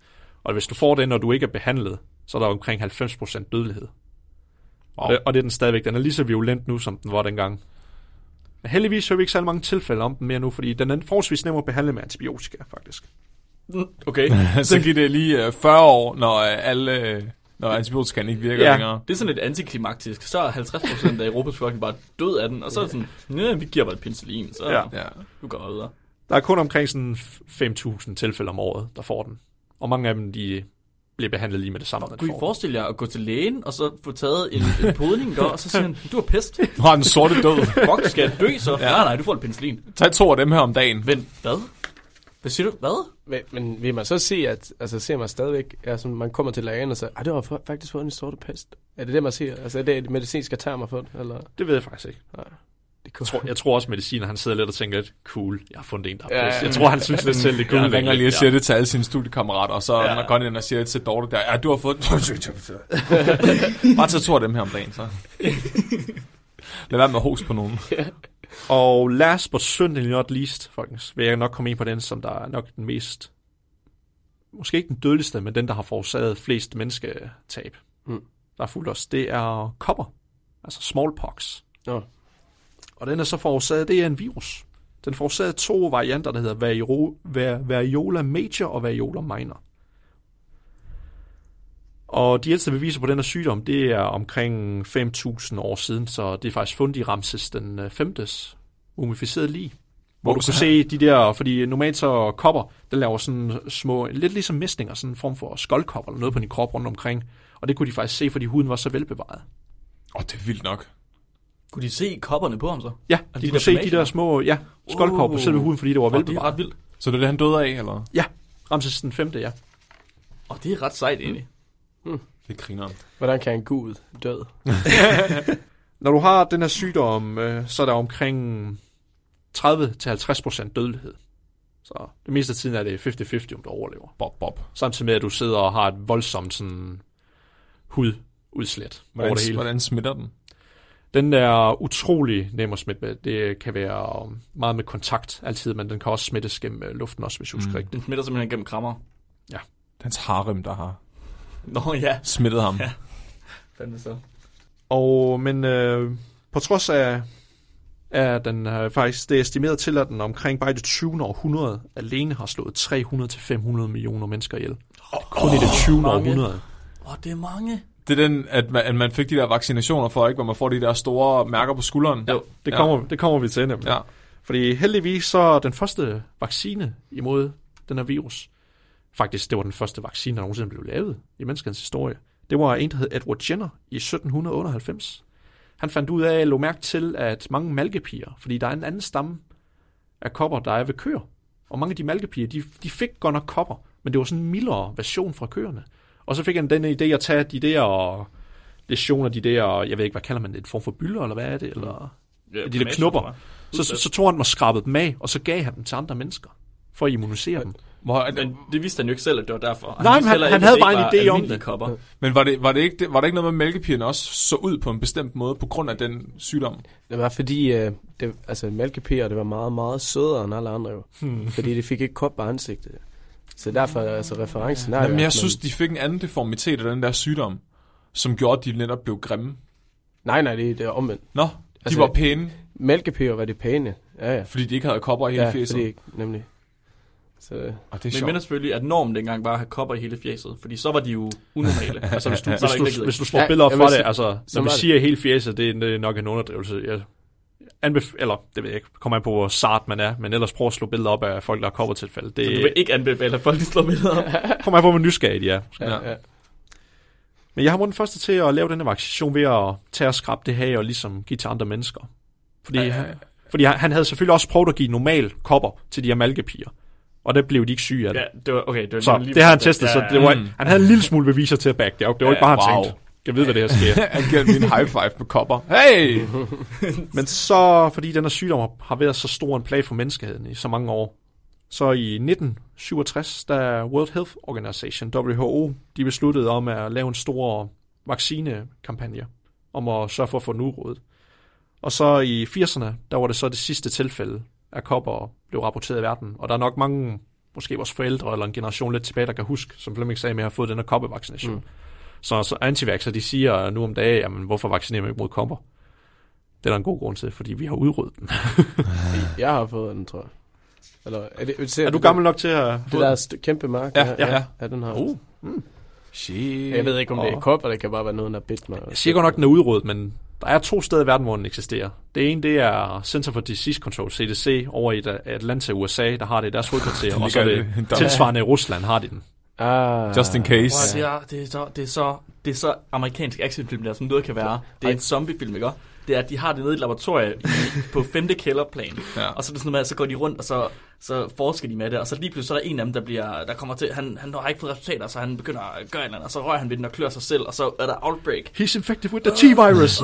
Speaker 5: Og hvis du får den, når du ikke er behandlet, så er der omkring 90% dødelighed. Wow. Og, det, og det er den stadigvæk. Den er lige så violent nu, som den var dengang. Men heldigvis hører vi ikke særlig mange tilfælde om den mere nu, fordi den er forholdsvis nem at behandle med antibiotika, faktisk.
Speaker 2: Okay.
Speaker 5: Altså-
Speaker 1: så giver det lige øh, 40 år, når øh, alle... Øh, når antibiotika ikke virker
Speaker 5: Ja.
Speaker 1: ja. længere.
Speaker 2: Det er sådan lidt antiklimaktisk. Så er 50% af Europas befolkning bare død af den, og så er det sådan, nej, vi giver bare et penicillin, så
Speaker 5: Ja.
Speaker 2: ja.
Speaker 1: Ja.
Speaker 2: du går bare videre.
Speaker 5: Der er kun omkring sådan 5.000 tilfælde om året, der får den. Og mange af dem, de bliver behandlet lige med det samme. når de
Speaker 2: Kunne I
Speaker 5: får den.
Speaker 2: forestille jer at gå til lægen, og så få taget en, en podning, der, og så siger han, du har pest.
Speaker 1: Nu har den sorte død.
Speaker 2: Fuck, skal jeg dø så? Ja. Nej, nej, du får et penicillin.
Speaker 1: Tag to af dem her om dagen.
Speaker 2: Vent, hvad? Hvad siger du? Hvad?
Speaker 4: Men, men vil man så se, at altså, ser man stadigvæk, altså, man kommer til lægen og siger, at det var fa- faktisk fået en sorte pest. Er det det, man siger? Altså er det et medicinsk termer for det? Eller?
Speaker 5: Det ved jeg faktisk ikke.
Speaker 4: Det
Speaker 5: Jeg
Speaker 4: kunne...
Speaker 5: tror, jeg tror også, mediciner, han sidder lidt og tænker lidt, cool, jeg har fundet en, der
Speaker 4: Ja,
Speaker 5: er pest.
Speaker 4: ja.
Speaker 5: Jeg tror, han synes lidt selv, det er cool.
Speaker 1: Han ringer lige og
Speaker 5: Ja.
Speaker 1: siger det til alle sine studiekammerater, og så
Speaker 2: Ja.
Speaker 1: ja. når Connie og siger det til Dorte der, ja, du har fået... Bare tag to af dem her om dagen, så. Lad være med at hoste på nogen.
Speaker 5: Og last but certainly not least, folkens, vil jeg nok komme ind på den, som der er nok den mest, måske ikke den dødeligste, men den, der har forårsaget flest mennesketab,
Speaker 4: Mm.
Speaker 5: der er fuldt os, det er kopper, altså smallpox.
Speaker 4: Nå.
Speaker 5: Og den er så forårsaget, det er en virus. Den forårsagede to varianter, der hedder vario, var, variola major og variola minor. Og de ældste beviser på den her sygdom, det er omkring 5.000 år siden, så det er faktisk fundet i Ramses den 5. mumificeret øh, lig. Hvor du kan se de der, fordi normalt så kopper, den laver sådan små, lidt ligesom mæsninger, sådan en form for skoldkopper eller noget på din krop rundt omkring. Og det kunne de faktisk se, fordi huden var så velbevaret.
Speaker 1: Åh, det er vildt nok.
Speaker 2: Kunne de se kopperne på ham så?
Speaker 5: Ja,
Speaker 2: de
Speaker 5: de, de
Speaker 2: der
Speaker 5: kunne se de
Speaker 2: tomater?
Speaker 5: der små ja, skoldkopper på
Speaker 2: Uh.
Speaker 5: selve huden, fordi det var
Speaker 2: Og det er
Speaker 5: velbevaret.
Speaker 2: ret vildt.
Speaker 1: Så det er det, han døde af, eller?
Speaker 5: Ja, Ramses den femte, ja.
Speaker 2: Og det er ret sejt egentlig.
Speaker 1: Det griner
Speaker 4: Hvordan kan en gud død?
Speaker 5: Når du har den her sygdom, øh, så er der omkring 30-50% dødelighed. Så det meste af tiden er det 50-50, om du overlever.
Speaker 1: Bob, bob.
Speaker 5: Samtidig med, at du sidder og har et voldsomt sådan, hududslæt over
Speaker 1: Hvordan,
Speaker 5: det hele.
Speaker 1: hvordan smitter den?
Speaker 5: Den er utrolig nem at smitte med. Det kan være meget med kontakt altid, men den kan også smittes gennem øh, luften også, hvis jeg husker
Speaker 1: Mm.
Speaker 5: mm. rigtigt.
Speaker 2: Den smitter simpelthen gennem krammer.
Speaker 1: Det er Hans harem, der har
Speaker 2: Nå ja,
Speaker 1: smittet ham.
Speaker 2: Ja. fandme så.
Speaker 5: Og, men øh, på trods af, at den øh, faktisk, det er estimeret til, at den omkring bare i det 20. århundrede alene har slået 300-500 millioner mennesker ihjel. Kun oh, i det 20.
Speaker 2: mange.
Speaker 5: århundrede.
Speaker 2: Åh, det er mange.
Speaker 1: Det er den, at man, at man fik de der vaccinationer for, ikke? Hvor man får de der store mærker på skulderen.
Speaker 5: Jo, det kommer, ja. det kommer vi til nemlig.
Speaker 1: Ja.
Speaker 5: Fordi heldigvis så er den første vaccine imod den her virus, faktisk det var den første vaccine, der nogensinde blev lavet i menneskets historie. Det var en, der hed Edward Jenner i 1798. Han fandt ud af, lå mærke til, at mange malkepiger, fordi der er en anden stamme af kopper, der er ved køer. Og mange af de malkepiger, de, de fik godt nok kopper, men det var sådan en mildere version fra køerne. Og så fik han den idé at tage de der lesioner, de der, jeg ved ikke, hvad kalder man det, en form for bylder, eller hvad er det? Eller,
Speaker 2: Ja,
Speaker 5: de der knopper. Så, så, så tog han dem og skrabede dem af, og så gav han dem til andre mennesker, for at immunisere dem.
Speaker 1: Hvor, er det-
Speaker 2: Men det vidste han jo ikke selv, at det var derfor.
Speaker 5: Nej, men
Speaker 2: vidste
Speaker 5: han-
Speaker 2: heller ikke,
Speaker 5: han
Speaker 2: at
Speaker 5: havde
Speaker 2: det
Speaker 5: bare en
Speaker 2: ikke
Speaker 5: idé om
Speaker 2: var almindelige
Speaker 5: det.
Speaker 2: Kopper.
Speaker 1: men var det, var, det ikke, det- var der ikke noget med, at mælkepigerne også så ud på en bestemt måde på grund af den sygdom?
Speaker 4: Det var fordi, øh, det, altså mælkepiger, det var meget, meget sødere end alle andre jo. Hmm. Fordi det fik ikke kop på ansigtet. Så derfor er altså referencen er
Speaker 1: Nej,
Speaker 4: jo,
Speaker 1: Jamen, jeg
Speaker 4: at man-
Speaker 1: synes, de fik en anden deformitet af den der sygdom, som gjorde, at de netop blev grimme.
Speaker 4: Nej, nej, det, det er omvendt.
Speaker 1: Nå, de
Speaker 4: Altså-
Speaker 1: var pæne,
Speaker 4: Mælkepiger var det pæne. Ja, ja.
Speaker 1: fordi de ikke havde kopper i hele
Speaker 4: Ja,
Speaker 1: ja, fjeset.
Speaker 4: fordi,
Speaker 1: Fordi...
Speaker 4: nemlig. Så, øh,
Speaker 1: Og det er
Speaker 2: Men jeg
Speaker 1: sjovt.
Speaker 2: minder selvfølgelig, at normen dengang var at have kopper i hele fjeset, fordi så var de jo unormale. altså, hvis du, så
Speaker 5: Hvis
Speaker 2: var der ikke, der
Speaker 5: du, hvis
Speaker 2: hvis...
Speaker 5: du slår
Speaker 4: Ja,
Speaker 5: billeder
Speaker 4: jeg
Speaker 5: fra
Speaker 4: vil
Speaker 5: det,
Speaker 4: sige-
Speaker 5: altså,
Speaker 4: så
Speaker 5: når vi
Speaker 4: var det.
Speaker 5: siger helt fjæset, det er en- det er nok en underdrivelse. Jeg anbef- eller, det ved jeg ikke, kommer an på, hvor sart man er, men ellers prøv at slå billeder op af folk, der har koppertilfælde.
Speaker 2: Så du vil
Speaker 5: Det
Speaker 2: ikke anbefale, at folk de slår billeder op.
Speaker 5: kommer an på, hvor nysgerrige de er.
Speaker 4: ja, ja.
Speaker 5: Men jeg har været den første til at lave den her vaccination ved at tage og skrabe det her og ligesom give til andre mennesker. Fordi, ja, ja, ja. fordi han, han havde selvfølgelig også prøvet at give normal kopper til de her malkepiger. Og der blev de ikke syge af det.
Speaker 2: Ja, det var, okay, det var
Speaker 5: Så
Speaker 2: nemlig-
Speaker 5: det har han testet,
Speaker 2: Ja,
Speaker 5: så
Speaker 2: ja,
Speaker 5: det var,
Speaker 1: Mm.
Speaker 5: han havde en lille smule beviser til at back det op. Det var ikke bare, han
Speaker 1: Wow.
Speaker 5: wow. tænkte, jeg ved, hvad det her sker.
Speaker 1: Han gav min high five på kopper. Hey!
Speaker 5: Men så, fordi den her sygdom har- har været så stor en plage for menneskeheden i så mange år, så i 1967, da World Health Organization, WHO, de besluttede om at lave en stor vaccinekampagne om at sørge for at få den udryddet. Og så i 80'erne, der var det så det sidste tilfælde af kopper blev rapporteret i verden. Og der er nok mange, måske vores forældre eller en generation lidt tilbage, der kan huske, som Flemming sagde med at have fået den her koppevaccination. Mm. Så, så antivaxer, de siger nu om dagen, jamen hvorfor vaccinerer man ikke mod kopper? Det er der en god grund til, fordi vi har udryddet den.
Speaker 4: Jeg har fået den, tror jeg. Eller, er, det, ser
Speaker 5: Er du gammel nok til at...
Speaker 4: Det der st- kæmpe mark.
Speaker 5: Ja, ja, ja.
Speaker 4: ja den har
Speaker 5: Uh.
Speaker 1: Shit.
Speaker 4: Jeg ved ikke, om det er kopper, det kan bare være noget, der bidt mig.
Speaker 5: Jeg siger godt nok, den er udryddet, men der er to steder i verden, hvor den eksisterer. Det ene, det er Center for Disease Control, CDC, over i At- Atlanta, USA, der har det i deres hovedkvarter, og så er
Speaker 1: ligger
Speaker 5: det
Speaker 1: i- der-
Speaker 5: tilsvarende i Rusland har de den.
Speaker 4: Ah.
Speaker 1: Just in case.
Speaker 2: Prøv at, det, er, det, er så, det, er så, det er så amerikansk actionfilm, der som noget kan være. Det er en zombiefilm, ikke? også? Det er, at de har det nede i et laboratorie i- på femte kælderplan.
Speaker 1: Ja.
Speaker 2: Og så er det sådan noget med, at så går de rundt, og så, så forsker de med det. Og så lige pludselig så er der en af dem, der, bliver, der kommer til, han, han har ikke fået resultater, så han begynder at gøre et eller andet, og så rører han ved den og klør sig selv, og så er der outbreak.
Speaker 5: He's infected with the T-virus.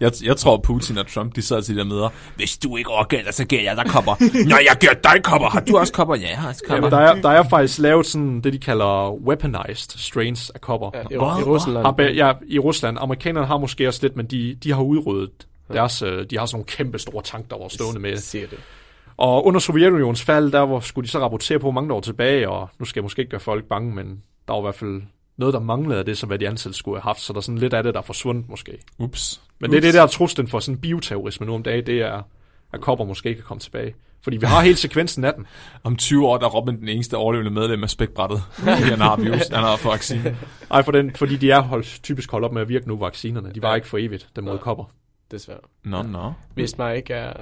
Speaker 1: Jeg, jeg tror, Putin og Trump, de sad til de der møder.
Speaker 3: Hvis du ikke overgælder, så giver jeg dig kopper. Nå, jeg giver dig kopper. Har du også kopper? Ja, jeg har også kopper.
Speaker 5: Jamen, der, er, der er faktisk lavet sådan det, de kalder weaponized strains af kopper.
Speaker 4: Ja,
Speaker 5: Ja,
Speaker 4: i, I Rusland.
Speaker 5: ja, i Rusland. Amerikanerne har måske også lidt, men de, de har udryddet deres, øh, de har sådan nogle kæmpe store tank, der var stående med
Speaker 4: Siger det.
Speaker 5: Og under Sovjetunionens fald, der var, skulle de så rapportere på hvor mange der var tilbage, og nu skal jeg måske ikke gøre folk bange, men der var i hvert fald noget, der manglede af det, som hvad de ansatte skulle have haft, så der er sådan lidt af det, der er forsvundet måske.
Speaker 1: Ups.
Speaker 5: Men det er det der er truslen for sådan bioterrorisme nu om dagen, det er, at kopper måske ikke kan komme tilbage. Fordi vi har hele sekvensen af den.
Speaker 1: Om 20 år, der er Robin den eneste overlevende medlem af spækbrættet. Fordi han har virus, han har fået vaccinen.
Speaker 5: Ej, for den, fordi de er holdt, typisk holdt op med at virke nu, vaccinerne. De var ikke for evigt, dem mod kopper.
Speaker 4: Desværre.
Speaker 1: Nå, nå.
Speaker 4: Hvis man ikke er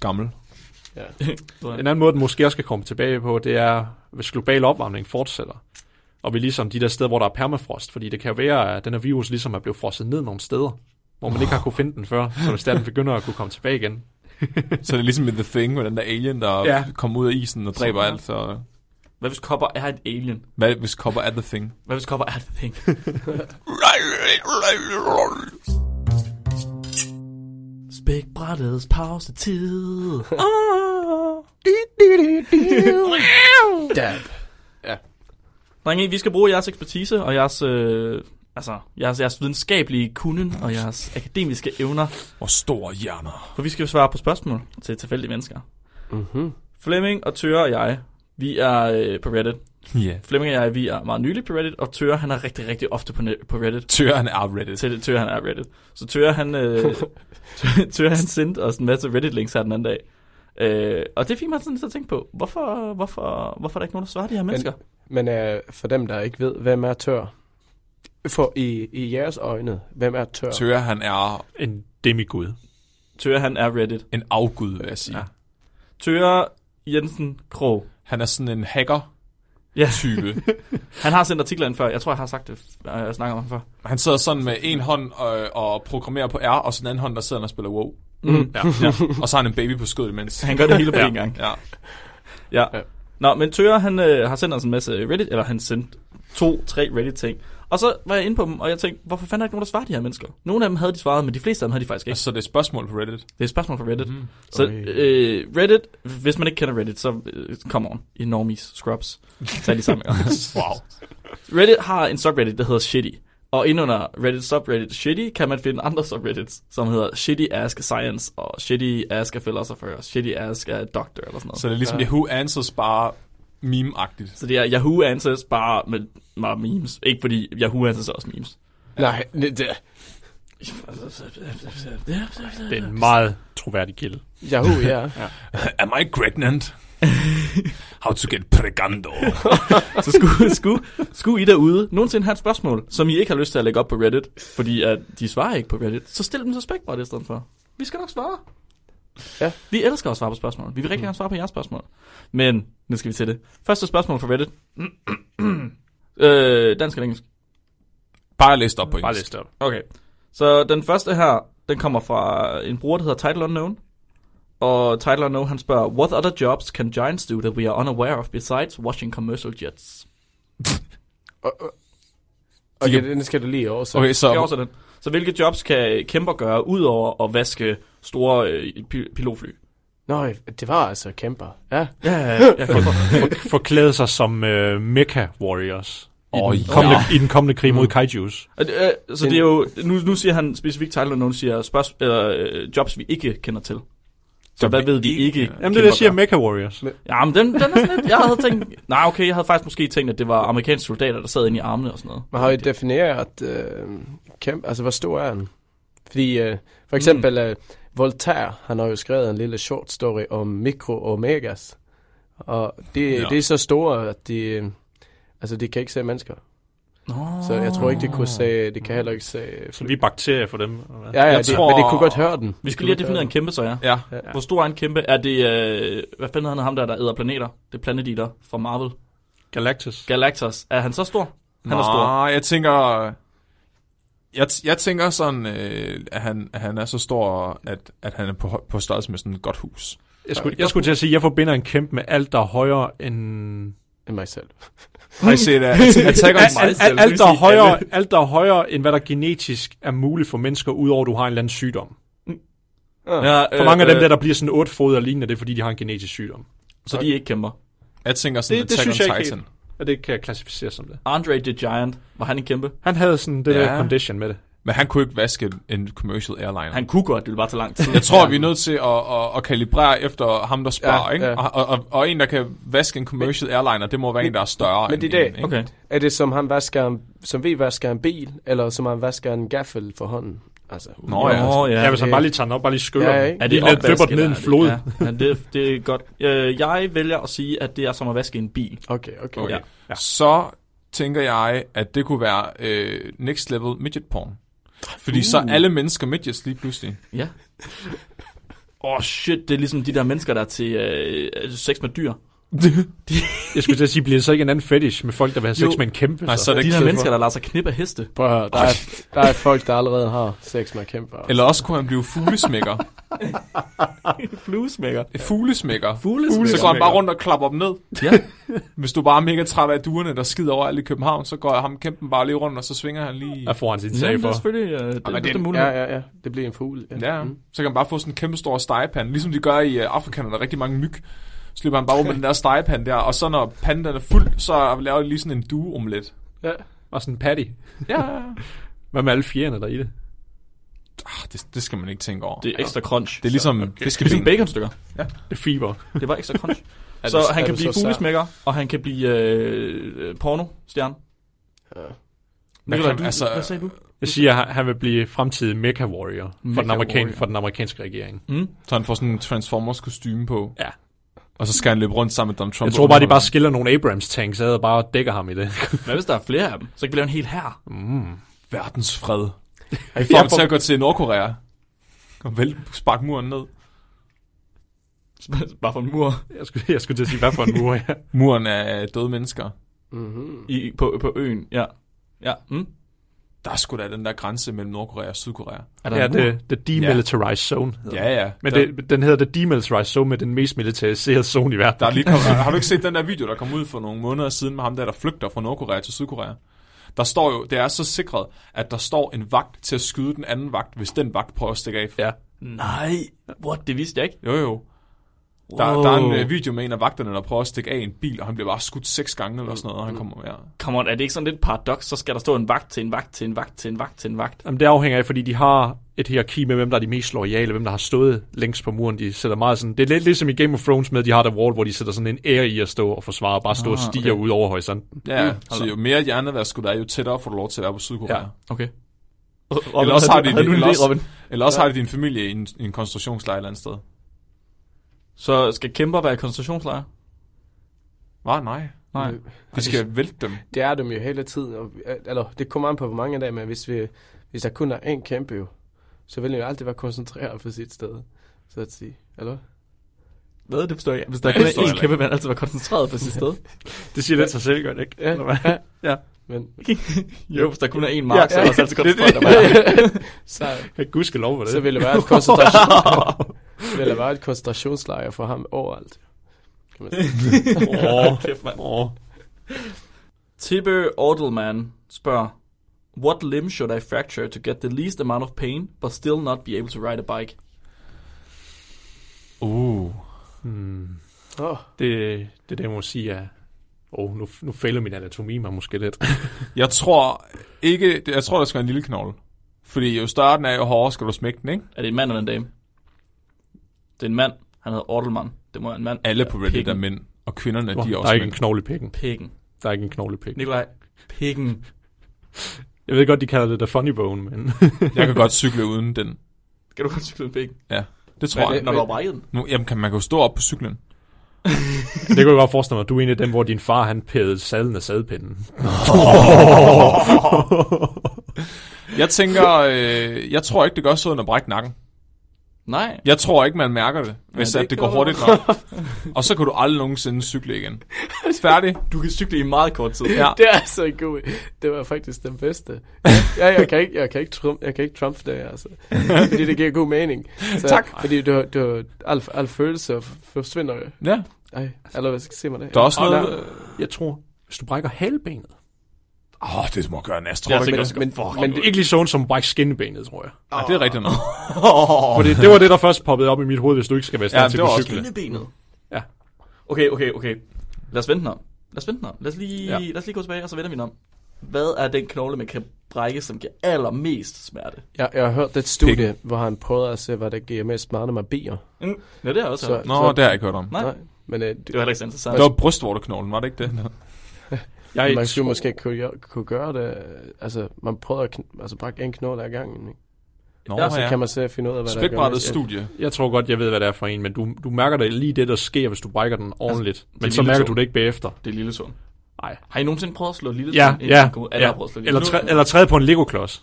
Speaker 1: gammel.
Speaker 4: Ja.
Speaker 5: En anden måde, den måske også skal komme tilbage på, det er, hvis global opvarmning fortsætter, og vi ligesom de der steder, hvor der er permafrost, fordi det kan jo være, at den her virus ligesom er blevet frosset ned nogle steder, hvor man ikke har kunne finde den før, så hvis der den begynder at kunne komme tilbage igen.
Speaker 1: Så det er ligesom med The Thing, med den der alien, der
Speaker 5: Ja.
Speaker 1: ja. kommer ud af isen og dræber
Speaker 2: Ja.
Speaker 1: alt. Så
Speaker 2: Hvad hvis kopper er et alien?
Speaker 1: hvad hvis kopper er The Thing?
Speaker 2: Hvad hvis kopper er et thing? Spækbrættets pausetid.
Speaker 4: Dab.
Speaker 2: Drenge, vi skal bruge jeres ekspertise og jeres, øh, altså, jeres, jeres videnskabelige kunden og jeres akademiske evner,
Speaker 1: Hvor store hjerner.
Speaker 2: for vi skal jo svare på spørgsmål til tilfældige mennesker.
Speaker 4: Mm-hmm.
Speaker 2: Flemming og Tøre og jeg, vi er øh, på Reddit.
Speaker 1: Ja.
Speaker 2: Flemming og jeg, vi er meget nylig på Reddit, og Tøre, han er rigtig, rigtig ofte på, net- på Reddit.
Speaker 1: Tøren er Reddit.
Speaker 2: Til Tøre, han er Reddit. Så Tøre, han, øh, Tøre, han sendte os en masse Reddit-links her den anden dag. Øh, og det fik mig sådan til at tænke på, hvorfor, hvorfor, hvorfor er der ikke nogen, der svarer de her mennesker?
Speaker 4: Men øh, for dem, der ikke ved, hvem er tør? For i, i jeres øjne, hvem er tør?
Speaker 1: Tøger, han er
Speaker 5: En demigud.
Speaker 2: Tøre, han er Reddit.
Speaker 1: en afgud, vil jeg sige.
Speaker 2: Ja. Tøre Jensen Krog.
Speaker 1: Han er sådan en hacker.
Speaker 2: Ja.
Speaker 1: type.
Speaker 2: Han har sendt artikler ind før. Jeg tror, jeg har sagt det, f- øh, jeg snakker om ham før.
Speaker 1: Han sidder sådan med en hånd og, og programmerer på R, og sådan en anden hånd, der sidder han og spiller WoW.
Speaker 2: Mm.
Speaker 5: Ja, ja.
Speaker 1: Og så har han en baby på skødet imens.
Speaker 2: Han gør det hele på én gang.
Speaker 1: Ja.
Speaker 2: Ja.
Speaker 4: Ja.
Speaker 2: Nå, men Tøre, han øh, har sendt os en masse Reddit, eller han sendte to-tre Reddit-ting. Og så var jeg inde på dem, og jeg tænkte, hvorfor fanden er der ikke nogen, der svarer de her mennesker? Nogle af dem havde de svaret, men de fleste af dem havde de faktisk ikke.
Speaker 1: Altså, Så det er et spørgsmål på Reddit.
Speaker 2: Det er et spørgsmål fra Reddit. Mm. Så
Speaker 4: Øj.
Speaker 2: øh, Reddit, hvis man ikke kender Reddit, så øh, come on, enormis, scrubs, tag de sammen. wow. Reddit har en subreddit, der hedder Shitty. Og ind under Reddit subreddit Shitty, kan man finde andre subreddits, som hedder Shitty Ask Science, og Shitty Ask a Philosopher, og Shitty Ask a Doctor, eller sådan noget.
Speaker 1: Så
Speaker 2: Så,
Speaker 1: det er ligesom
Speaker 4: Ja.
Speaker 1: ja. Yahoo Answers bare meme-agtigt.
Speaker 2: så det er Yahoo Answers bare med bare memes. Ikke fordi Yahoo Answers er også memes.
Speaker 4: Nej, det, det-
Speaker 5: Det er en meget troværdig kilde.
Speaker 4: Yahoo, ja.
Speaker 1: Am I pregnant? How to get pregando?
Speaker 2: Så skulle, skulle, skulle I derude nogensinde have et spørgsmål, som I ikke har lyst til at lægge op på Reddit, fordi at de svarer ikke på Reddit, så stil dem til spækbræt i stedet for. Vi skal nok svare.
Speaker 4: Ja.
Speaker 2: Vi elsker at svare på spørgsmål. Vi vil rigtig gerne svare på jeres spørgsmål. Men nu skal vi til det. Første spørgsmål fra Reddit. øh, dansk eller engelsk?
Speaker 1: bare læst op på engelsk.
Speaker 5: Bare læs det op.
Speaker 2: Okay. Så den første her, den kommer fra en bruger, der hedder Title Unknown. Og Title Unknown, han spørger, What other jobs can giants do that we are unaware of besides watching commercial jets?
Speaker 4: Og, og, okay, den skal du lige over, så.
Speaker 1: Okay,
Speaker 2: Det er
Speaker 1: så
Speaker 2: også den. Så hvilke jobs kan kæmper gøre, udover at vaske store øh, pi- pilotfly?
Speaker 4: Nå, det var altså kæmper. Ja,
Speaker 2: Ja, ja, ja. jeg kan godt-
Speaker 5: Forklæde sig som øh, mecha warriors. I,
Speaker 1: Åh,
Speaker 5: den
Speaker 1: ja. Mm.
Speaker 5: kommende, I den kommende krig mod kaijus.
Speaker 2: Og det, øh, Så det er jo, nu, nu siger han specifikt title, og nogen siger spørgs- eller, øh, jobs, vi ikke kender til. Så
Speaker 1: Som
Speaker 2: hvad
Speaker 1: vi
Speaker 2: ved vi
Speaker 1: ikke-
Speaker 2: ikke?
Speaker 5: Jamen det er det, jeg siger,
Speaker 2: kæmper
Speaker 5: mecha warriors.
Speaker 2: gør? Ja, men den, den er sådan lidt, jeg havde tænkt, nej okay, jeg havde faktisk måske tænkt, at det var amerikanske soldater, der sad inde i armene og sådan noget.
Speaker 4: man har jo defineret øh, kæmper, altså hvor stor er den? Fordi øh, for eksempel øh, Voltaire, han har jo skrevet en lille short story om mikro-omegas. Og det,
Speaker 1: Ja.
Speaker 4: det er så store, at de, øh, altså, de kan ikke se mennesker.
Speaker 2: Nå.
Speaker 4: Så jeg tror ikke, det kunne se, det kan heller ikke se...
Speaker 5: Så vi er bakterier for dem. eller hvad?
Speaker 4: Ja, ja,
Speaker 1: Jeg
Speaker 4: det,
Speaker 1: tror-
Speaker 4: men det kunne godt høre den.
Speaker 2: Vi
Speaker 4: Det
Speaker 2: skal
Speaker 4: kunne
Speaker 2: lige
Speaker 4: godt
Speaker 2: have defineret
Speaker 4: høre
Speaker 2: en kæmpe, så ja.
Speaker 1: ja.
Speaker 4: Ja.
Speaker 2: Hvor stor er en kæmpe? Er det, øh, hvad fanden hedder ham der, der æder planeter? Det er Planet Eater fra Marvel.
Speaker 5: Galactus.
Speaker 2: Galactus. Er han så stor? Han er stor.
Speaker 1: Nej, jeg tænker... Jeg, t- jeg tænker sådan, øh, at han, at han er så stor, at, at han er på, hø- på størrelse med sådan et godt hus.
Speaker 5: Jeg skulle, jeg skulle til at sige, at jeg forbinder en kæmpe med alt, der er højere end...
Speaker 4: den. Mig selv.
Speaker 1: Har I set at Attack on
Speaker 5: Alt,
Speaker 1: Titan?
Speaker 5: alt, alt, der er højere, alt, der er højere, end hvad der genetisk er muligt for mennesker, udover at du har en eller anden sygdom.
Speaker 2: Ja,
Speaker 5: For mange af
Speaker 2: øh.
Speaker 5: dem der, der bliver sådan otte fod og lignende, det er fordi, de har en genetisk sygdom.
Speaker 2: Så de ikke kæmper.
Speaker 1: Jeg tænker sådan
Speaker 5: Det- det
Speaker 1: Attack
Speaker 5: synes jeg
Speaker 1: on
Speaker 5: ikke
Speaker 1: Titan.
Speaker 5: Og det kan jeg klassificere som det.
Speaker 2: Andre the Giant, var han en kæmpe?
Speaker 5: Han havde sådan det
Speaker 1: Ja.
Speaker 5: der condition med det.
Speaker 1: Men han kunne ikke vaske en- en commercial airliner.
Speaker 2: Han kunne godt, det ville bare tage lang tid.
Speaker 1: Jeg tror, vi er nødt til at, at, at kalibrere efter ham, der sparer,
Speaker 4: Ja,
Speaker 1: ikke?
Speaker 4: ja.
Speaker 1: Og, og, og en, der kan vaske en commercial airliner, det må være en, der er større
Speaker 4: men det er
Speaker 1: end
Speaker 4: det.
Speaker 1: en, ikke?
Speaker 2: Okay.
Speaker 4: Er det som han vasker en, som vi vasker en bil, eller som han vasker en gaffel for hånden? Altså,
Speaker 1: Nå ja.
Speaker 2: Nå,
Speaker 5: Ja,
Speaker 2: ja.
Speaker 5: ja hvis han
Speaker 4: det-
Speaker 5: bare lige tager den op, bare lige skyller
Speaker 4: Ja,
Speaker 5: ja,
Speaker 4: ikke?
Speaker 5: den. Er det lidt døber den ned i en flod.
Speaker 2: Ja, ja det, det er godt. Øh, Jeg vælger at sige, at det er som at vaske en bil.
Speaker 4: Okay, okay.
Speaker 1: Okay.
Speaker 4: okay.
Speaker 2: Ja.
Speaker 1: Ja. Så tænker jeg, at det kunne være øh, next level midget porn. Fordi uh. så er alle mennesker midgets lige pludselig.
Speaker 2: Ja. åh oh shit, det er ligesom de der mennesker, der er til øh, sex med dyr.
Speaker 5: Jeg skulle til at sige, bliver det så ikke en anden fetish med folk, der vil have sex
Speaker 2: Jo.
Speaker 5: med en kæmpe?
Speaker 1: Nej, så er det
Speaker 2: De
Speaker 1: ikke
Speaker 2: der
Speaker 1: stedet
Speaker 2: mennesker, der lader sig knippe af heste.
Speaker 4: Prøv at høre, der er, der er folk, der allerede har sex med kæmper.
Speaker 1: for. Eller også kunne han blive fuglesmækker.
Speaker 2: Fluesmækker.
Speaker 1: fuglesmækker.
Speaker 2: Fuglesmækker.
Speaker 1: Så går han bare rundt og klapper dem ned.
Speaker 2: Ja.
Speaker 1: Hvis du bare er mega træt af duerne, der skider overalt i København, så går ham kæmpen bare lige rundt, og så svinger han lige.
Speaker 5: Der får han sin
Speaker 2: Jamen,
Speaker 5: sag
Speaker 2: det er
Speaker 5: for.
Speaker 2: selvfølgelig øh, det, det,
Speaker 1: men
Speaker 2: det,
Speaker 1: det-
Speaker 2: er muligt.
Speaker 4: Ja,
Speaker 2: Ja, ja.
Speaker 4: ja, ja. Det bliver en fugl.
Speaker 1: Ja, mm. så kan han bare få sådan en kæmpe stor stegepande, ligesom de gør i øh, Afrika, når der er rigtig mange myg. Så løber han bare rundt med den der stegepande der, og så når panden den er fuld, så laver de lige sådan en dueomelet.
Speaker 5: Ja. Og sådan en patty.
Speaker 1: Ja, ja, ja.
Speaker 5: Hvad med alle fjerne der er i det?
Speaker 1: Ah, det, det skal man ikke tænke over.
Speaker 2: det er ekstra crunch.
Speaker 1: det er ligesom okay.
Speaker 2: det er ligesom
Speaker 1: fiskeben.
Speaker 2: baconstykker.
Speaker 5: Det er fiber.
Speaker 2: Det var ekstra crunch.
Speaker 4: det-
Speaker 2: så han
Speaker 4: er
Speaker 2: kan
Speaker 4: det
Speaker 2: blive
Speaker 4: så sær?
Speaker 2: fuglesmækker, og han kan blive øh, porno-stjerne.
Speaker 4: Ja.
Speaker 2: Nikolaj,
Speaker 1: kan-
Speaker 2: du,
Speaker 1: altså-
Speaker 2: hvad sagde du?
Speaker 5: Jeg siger, at han vil blive fremtidig Mecha Warrior for, den
Speaker 2: Mecha
Speaker 5: amerikan-
Speaker 2: warrior.
Speaker 5: for den amerikanske regering.
Speaker 1: Så han får sådan en Transformers kostume på.
Speaker 5: Ja.
Speaker 1: Og så skal han løbe rundt sammen med Donald Trump.
Speaker 5: Jeg tror bare, de bare skiller nogle Abrams tanks ad og bare dækker ham i det.
Speaker 2: Hvad hvis der er flere af dem? Så kan vi lave en hel her.
Speaker 1: Verdens fred. Vi får ham til at gå til Nordkorea. Og vel sparke muren ned.
Speaker 2: Bare for en mur
Speaker 5: Jeg skulle, jeg skulle til at sige, hvad for en mur ja.
Speaker 1: Muren af døde mennesker.
Speaker 4: Mm-hmm.
Speaker 2: i, på, på øen. Ja. Ja. Mm.
Speaker 1: Der er sgu da den der grænse mellem Nordkorea og Sydkorea.
Speaker 2: Er der
Speaker 5: ja,
Speaker 2: en mur?
Speaker 5: det, the Demilitarized Zone. hedder den.
Speaker 1: Ja, ja.
Speaker 5: Men
Speaker 1: der,
Speaker 5: det, den hedder The Demilitarized Zone med den mest militariserede zone i verden.
Speaker 1: Der er lige kommet, har du ikke set den der video, der kom ud for nogle måneder siden med ham der, der flygter fra Nordkorea til Sydkorea? Der står jo, det er så sikret, at der står en vagt til at skyde den anden vagt, hvis den vagt prøver at stikke af.
Speaker 5: Ja.
Speaker 2: Nej. What? Det vidste jeg ikke.
Speaker 1: Jo jo. Der,
Speaker 2: Wow.
Speaker 1: der er en øh, video med en af vagterne, der prøver at stikke af i en bil, og han bliver bare skudt seks gange eller sådan noget,
Speaker 2: Mm.
Speaker 1: og han kommer ja.
Speaker 2: Come on, er det ikke sådan lidt paradoks? Så skal der stå en vagt til en vagt til en vagt til en vagt til en vagt.
Speaker 5: Jamen, det afhænger af, fordi de har et hierarki med, hvem der er de mest loyale, hvem der har stået længst på muren. De sætter meget sådan, det er lidt ligesom i Game of Thrones med, at de har der wall, hvor de sætter sådan en ære i at stå og forsvare, og bare stå ah, og stiger okay. ud over horisonten.
Speaker 1: Ja, så jo mere hjernevask der er, jo tættere får du lov til at være på Sydkorea.
Speaker 5: Ja.
Speaker 1: Ja.
Speaker 2: Okay.
Speaker 1: Eller også har de
Speaker 2: nu
Speaker 1: det,
Speaker 2: en
Speaker 1: eller
Speaker 2: idé, Robin.
Speaker 1: også, eller også har de din familie i en, i en konstruktionslejr et eller andet sted.
Speaker 2: Så skal kæmper være i koncentrationslejr?
Speaker 1: Nej, nej.
Speaker 2: Nej.
Speaker 1: De skal vælte dem.
Speaker 4: Det er dem jo hele tiden. Og, eller, det kommer an på, hvor mange af dem, men hvis, vi, hvis der kun er én kæmpe jo, så vil den jo altid være koncentreret på sit sted. Så at sige. Eller? hvad?
Speaker 2: Hvad? Det forstår jeg. Hvis der
Speaker 1: Ja,
Speaker 2: kun
Speaker 1: det forstår
Speaker 2: er
Speaker 1: jeg
Speaker 2: én kæmpe, vil han altid være koncentreret på sit sted.
Speaker 5: Det siger lidt sig selv godt, ikke? Eller hvad?
Speaker 4: ja.
Speaker 2: Ja.
Speaker 4: Men,
Speaker 2: Jo, hvis der kun er én mark, ja, så er
Speaker 4: ja.
Speaker 2: der også altid koncentreret. der bare-
Speaker 4: så,
Speaker 5: Jeg kan huske lov for det.
Speaker 4: så vil det være et, koncentration, vil det være et koncentrationslejr for ham overalt. Kan man sige.
Speaker 5: Åh,
Speaker 2: Kæft, mand.
Speaker 5: åh.
Speaker 2: Tibbe Ordelman spørger, What limb should I fracture to get the least amount of pain, but still not be able to ride a bike?
Speaker 1: Uh.
Speaker 5: Hmm.
Speaker 4: Åh,
Speaker 5: Det, det er det, jeg må sige, er... Åh, oh, nu, nu fejler min anatomi mig måske lidt.
Speaker 1: Jeg tror ikke, jeg tror, der skal være en lille knogle. Fordi jo større den er, jo hårdere skal du smække den, ikke?
Speaker 2: Er det en mand eller en dame? Det er en mand. Han hedder Ordelman. Det må være en mand.
Speaker 1: Alle på Reddit
Speaker 2: pikken.
Speaker 1: er mænd, og kvinderne,
Speaker 5: Nå,
Speaker 1: de er
Speaker 5: der er
Speaker 1: også
Speaker 5: ikke
Speaker 1: mænd.
Speaker 5: en knogle i pikken.
Speaker 2: Pikken.
Speaker 5: Der er ikke en knogle i pikken.
Speaker 2: Nikolaj. Pikken.
Speaker 5: Jeg ved godt, de kalder det the funny bone, men...
Speaker 1: Jeg kan godt cykle uden den.
Speaker 2: Kan du godt cykle en pikken?
Speaker 1: Det tror
Speaker 4: Men
Speaker 1: jeg.
Speaker 4: det-
Speaker 2: Når du har brækket den.
Speaker 1: Nu, jamen, kan man kan jo stå op på cyklen.
Speaker 5: det kan jeg godt forestille mig, at du er en af dem, hvor din far, han pædede sadlen af sadpinden.
Speaker 1: Jeg tænker, øh, jeg tror ikke, det gør sådan at brække nakken.
Speaker 2: Nej.
Speaker 1: Jeg tror ikke, man mærker det, hvis
Speaker 2: det
Speaker 1: ja, det, at det
Speaker 2: gør
Speaker 1: går
Speaker 2: du.
Speaker 1: hurtigt nok. Og så kan du aldrig nogensinde cykle igen. Færdig?
Speaker 2: Du kan cykle i meget kort tid.
Speaker 1: Ja.
Speaker 4: det er altså en god Det var faktisk den bedste. Ja, jeg kan ikke, jeg kan ikke, trum, jeg kan ikke trumfe det, altså. Fordi det giver god mening. Så, tak. Fordi du, du, al, al følelse forsvinder jo.
Speaker 1: Ja.
Speaker 4: Ej, eller hvad skal se mig det?
Speaker 1: Der er også
Speaker 5: Og
Speaker 1: noget...
Speaker 5: der, jeg tror, hvis du brækker halebenet...
Speaker 1: Åh, oh, det må gøre en astro.
Speaker 2: Jeg
Speaker 1: Ja,
Speaker 2: tænker
Speaker 1: det,
Speaker 2: også,
Speaker 4: men,
Speaker 5: Fuck, men
Speaker 4: men,
Speaker 5: det er ikke lige sådan som at brække skinnebenet, tror jeg.
Speaker 1: ja, Ah, det er rigtigt nok.
Speaker 5: For det, det var det, der først poppede op i mit hoved, hvis du ikke skal være i stand
Speaker 1: Ja,
Speaker 5: til
Speaker 1: det
Speaker 5: at
Speaker 1: var
Speaker 5: kunne
Speaker 1: også
Speaker 5: cykle.
Speaker 2: Benet.
Speaker 5: Ja.
Speaker 2: Okay, okay, okay. Lad os vente den om. Lad os vente den om. Lad os lige,
Speaker 5: Ja.
Speaker 2: ja. lad os lige gå tilbage, og så vender vi den om. Hvad er den knogle, man kan brække, som giver allermest smerte?
Speaker 4: jeg, jeg har hørt det studie, Pik. hvor han prøvede at se, hvad der giver mest smerte, når man bier.
Speaker 2: Mm. Ja, det er jeg også.
Speaker 4: Så-
Speaker 2: hørt.
Speaker 1: Nå, det har jeg ikke hørt om.
Speaker 2: Nej.
Speaker 4: Men øh, det,
Speaker 2: Det var heller ikke så interessant.
Speaker 1: Det var brystvorteknoglen, var det ikke det?
Speaker 5: Jeg
Speaker 4: man
Speaker 5: tror-
Speaker 4: skulle måske kunne gøre, kunne gøre det, øh, altså man prøver at kn- altså, brække en knogle ad gangen, ikke?
Speaker 1: Nå,
Speaker 2: Ja,
Speaker 1: ja,
Speaker 4: Og så
Speaker 1: ja.
Speaker 4: kan man se at finde ud af, hvad der gør
Speaker 1: Spækbrættet
Speaker 4: mest.
Speaker 1: studie.
Speaker 5: Jeg tror godt, jeg ved, hvad det er for en, men du, du mærker det lige det, der sker, hvis du brækker den ordentligt. Altså, men
Speaker 2: det
Speaker 5: så
Speaker 2: lille
Speaker 5: mærker
Speaker 2: tog.
Speaker 5: du det ikke bagefter.
Speaker 2: Det er lille sund.
Speaker 5: Nej.
Speaker 2: Har I nogensinde prøvet at slå lille
Speaker 5: Ja,
Speaker 2: tand? ind i
Speaker 5: ja,
Speaker 2: en knude? Alle
Speaker 5: ja.
Speaker 2: har prøvet at slå lille
Speaker 5: Eller,
Speaker 2: tand.
Speaker 5: træ, eller træde på en Lego-klods.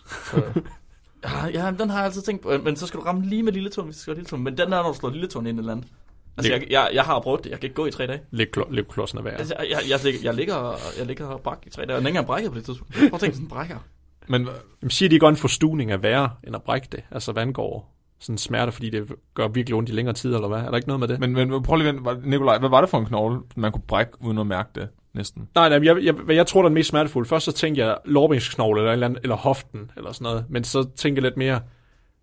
Speaker 2: Ja, ja, den har jeg altid tænkt på. Men så skal du ramme lige med lille tåen, hvis du skal have lille tåen. Men den der, når du slår lille tåen ind i et eller andet. Altså,
Speaker 5: Det-
Speaker 2: jeg, jeg, jeg, har prøvet det. Jeg kan ikke gå i tre dage.
Speaker 5: Læbklodsen er værre.
Speaker 2: Altså, jeg, jeg, jeg, ligger, jeg, ligger, jeg ligger brak i tre dage. Jeg er ikke engang brækket på det tidspunkt. Prøv at tænke sådan en brækker.
Speaker 1: Men hva-
Speaker 5: Jamen, siger de ikke, at en forstuning er værre end at brække det? Altså, hvad angår sådan smerte, fordi det gør virkelig ondt i længere tid, eller hvad? Er der ikke noget med det? Men,
Speaker 1: Men, men prøv lige at vente, Nikolaj, hvad var det for en knogle, man kunne brække uden at mærke det næsten?
Speaker 5: nej, nej, men jeg, jeg, hvad jeg tror, der er den mest smertefulde. Først så tænkte jeg lårbindsknogle eller, et eller, andet, eller hoften, eller sådan noget. Men så tænker jeg lidt mere,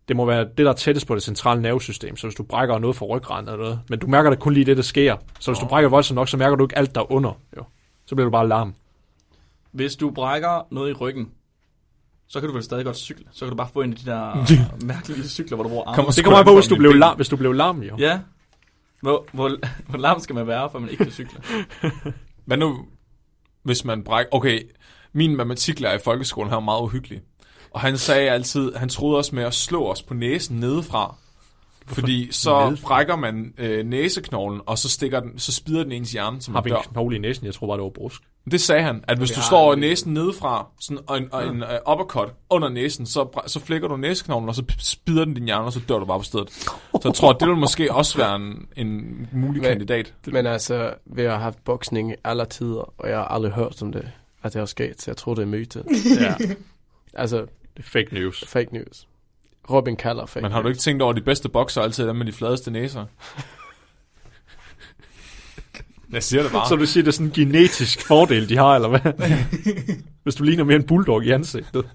Speaker 5: det må være det, der er tættest på det centrale nervesystem. Så hvis du brækker noget for ryggraden eller noget, men du mærker det kun lige det, der sker. Så hvis du brækker voldsomt nok, så mærker du ikke alt der under. Jo. Så bliver du bare larm.
Speaker 2: Hvis du brækker noget i ryggen, så kan du vel stadig godt cykle. Så kan du bare få en af de der mærkelige lille cykler, hvor du bruger armen.
Speaker 1: Kom og
Speaker 5: Det
Speaker 1: skyld
Speaker 5: kommer an på,
Speaker 1: mig
Speaker 5: hvis du
Speaker 1: mine
Speaker 5: blev
Speaker 1: ben.
Speaker 5: larm, hvis du blev larm, jo.
Speaker 2: Ja. Hvor, hvor, hvor larm skal man være, for at man ikke kan cykle?
Speaker 1: Hvad nu, hvis man brækker... Okay, min matematiklærer i folkeskolen, han var meget uhyggelig. Og han sagde altid, han troede os med at slå os på næsen nedefra. Fordi så
Speaker 5: Nedefra?
Speaker 1: brækker man øh, næseknoglen, og så, stikker den, så spider den ens hjerne, som
Speaker 5: Har
Speaker 1: man
Speaker 5: vi en
Speaker 1: dør.
Speaker 5: knogle i næsen? Jeg tror bare, det var brusk.
Speaker 1: Det sagde han, at hvis du står næsen nedefra, sådan, og en, og en øh, uppercut under næsen, så, bræ- så flækker du næseknoglen, og så p- spider den din hjerne, og så dør du bare på stedet. Så jeg tror, det vil måske også være en, en mulig
Speaker 4: Hvad?
Speaker 1: kandidat.
Speaker 4: Men altså, vi har haft boksning i alle tider, og jeg har aldrig hørt om det, at det er sket, så jeg tror, det er myte.
Speaker 5: Ja,
Speaker 4: Altså,
Speaker 5: det er fake news.
Speaker 4: fake news. Robin kalder fake
Speaker 1: Men har du
Speaker 4: news.
Speaker 1: ikke tænkt over, at de bedste bokser altid er dem med de fladeste næser? Jeg siger det bare.
Speaker 5: Så du siger, det er sådan en genetisk fordel, de har, eller hvad? Hvis du ligner mere en bulldog i ansigtet.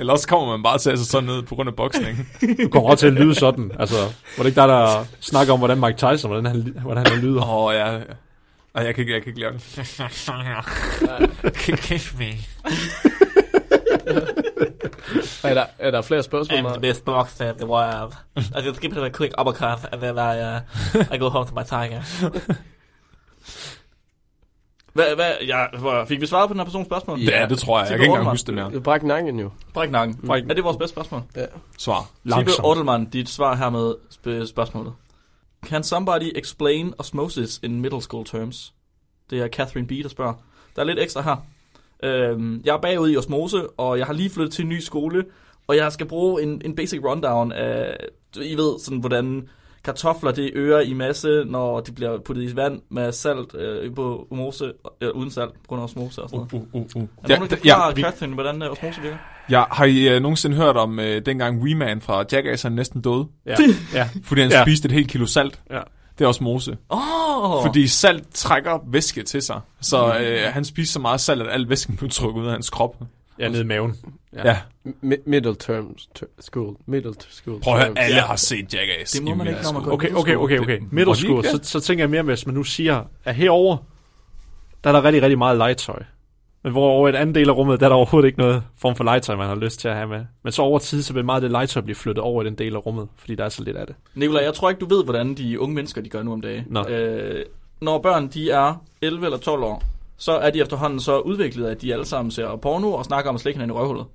Speaker 1: Ellers kommer man bare til at se sådan ned på grund af boksning.
Speaker 5: Du kommer også til at lyde sådan. Altså, var det ikke der, der snakker om, hvordan Mike Tyson, hvordan han, hvordan han lyder?
Speaker 1: Åh, oh, ja. Ej, jeg kan ikke, jeg kan ikke lave det.
Speaker 3: Kiss me.
Speaker 4: Er der, er der flere spørgsmål?
Speaker 6: I'm the
Speaker 4: Mark?
Speaker 6: best boxer in the world. I just give him a quick uppercut and then I uh, I go home to my tiger.
Speaker 2: Hvad, hvad, ja, hvor- fik vi svaret på den her persons spørgsmål?
Speaker 1: Ja, det tror jeg. Jeg kan ikke engang huske det mere.
Speaker 4: Du brækker nakken jo.
Speaker 2: Bræk nakken.
Speaker 5: Bræk-
Speaker 2: Er det vores bedste spørgsmål?
Speaker 1: Svar.
Speaker 2: Tibe
Speaker 5: Langsomt.
Speaker 2: Ortelmann, dit svar her med sp- spørgsmålet. Can somebody explain osmosis in middle school terms? Det er Catherine B., der spørger. Der er lidt ekstra her. Øhm, jeg er bagud i osmose, og jeg har lige flyttet til en ny skole, og jeg skal bruge en, en basic rundown af, du- I ved, sådan hvordan kartofler, det øger i masse, når de bliver puttet i vand med salt øh, på omose, øh, uden salt, på grund af osmose og sådan noget.
Speaker 1: Uh, uh, uh.
Speaker 2: Er der
Speaker 1: Ja,
Speaker 2: nogen, der kan
Speaker 1: ja,
Speaker 2: forklare,
Speaker 1: vi-
Speaker 2: Catherine, hvordan øh, osmose virker?
Speaker 1: ja, har I øh, nogensinde hørt om øh, dengang Weeman fra Jackass han næsten døde?
Speaker 5: Ja. ja.
Speaker 1: Fordi han
Speaker 5: Ja.
Speaker 1: ja. spiste et helt kilo salt.
Speaker 5: Ja.
Speaker 1: Det er osmose.
Speaker 2: Åh!
Speaker 1: Fordi salt trækker væske til sig. Så øh, han spiste så meget salt, at al væsken blev trukket ud af hans krop.
Speaker 5: Ja, nede i maven.
Speaker 1: Ja. ja.
Speaker 4: Mi- middle term t- school. Middle t- school.
Speaker 1: Prøv at høre,
Speaker 4: term.
Speaker 1: alle har set Jackass.
Speaker 2: Det må
Speaker 1: i
Speaker 2: man ikke, når man
Speaker 1: middelskud.
Speaker 2: går i
Speaker 5: Okay, okay, okay, okay. Middle school, så, så tænker jeg mere, hvis man nu siger, at herover der er der rigtig, rigtig meget legetøj. Men hvor over et andet del af rummet, der er der overhovedet ikke noget form for legetøj, man har lyst til at have med. Men så over tid, så vil meget af det legetøj blive flyttet over i den del af rummet, fordi der er så lidt af det.
Speaker 2: Nikolaj, jeg tror ikke, du ved, hvordan de unge mennesker de gør nu om dagen.
Speaker 5: Nå.
Speaker 2: Øh, når børn de er 11 eller 12 år, så er de efterhånden så udviklet, at de alle sammen ser porno og snakker om at slikke hinanden i røvhullet.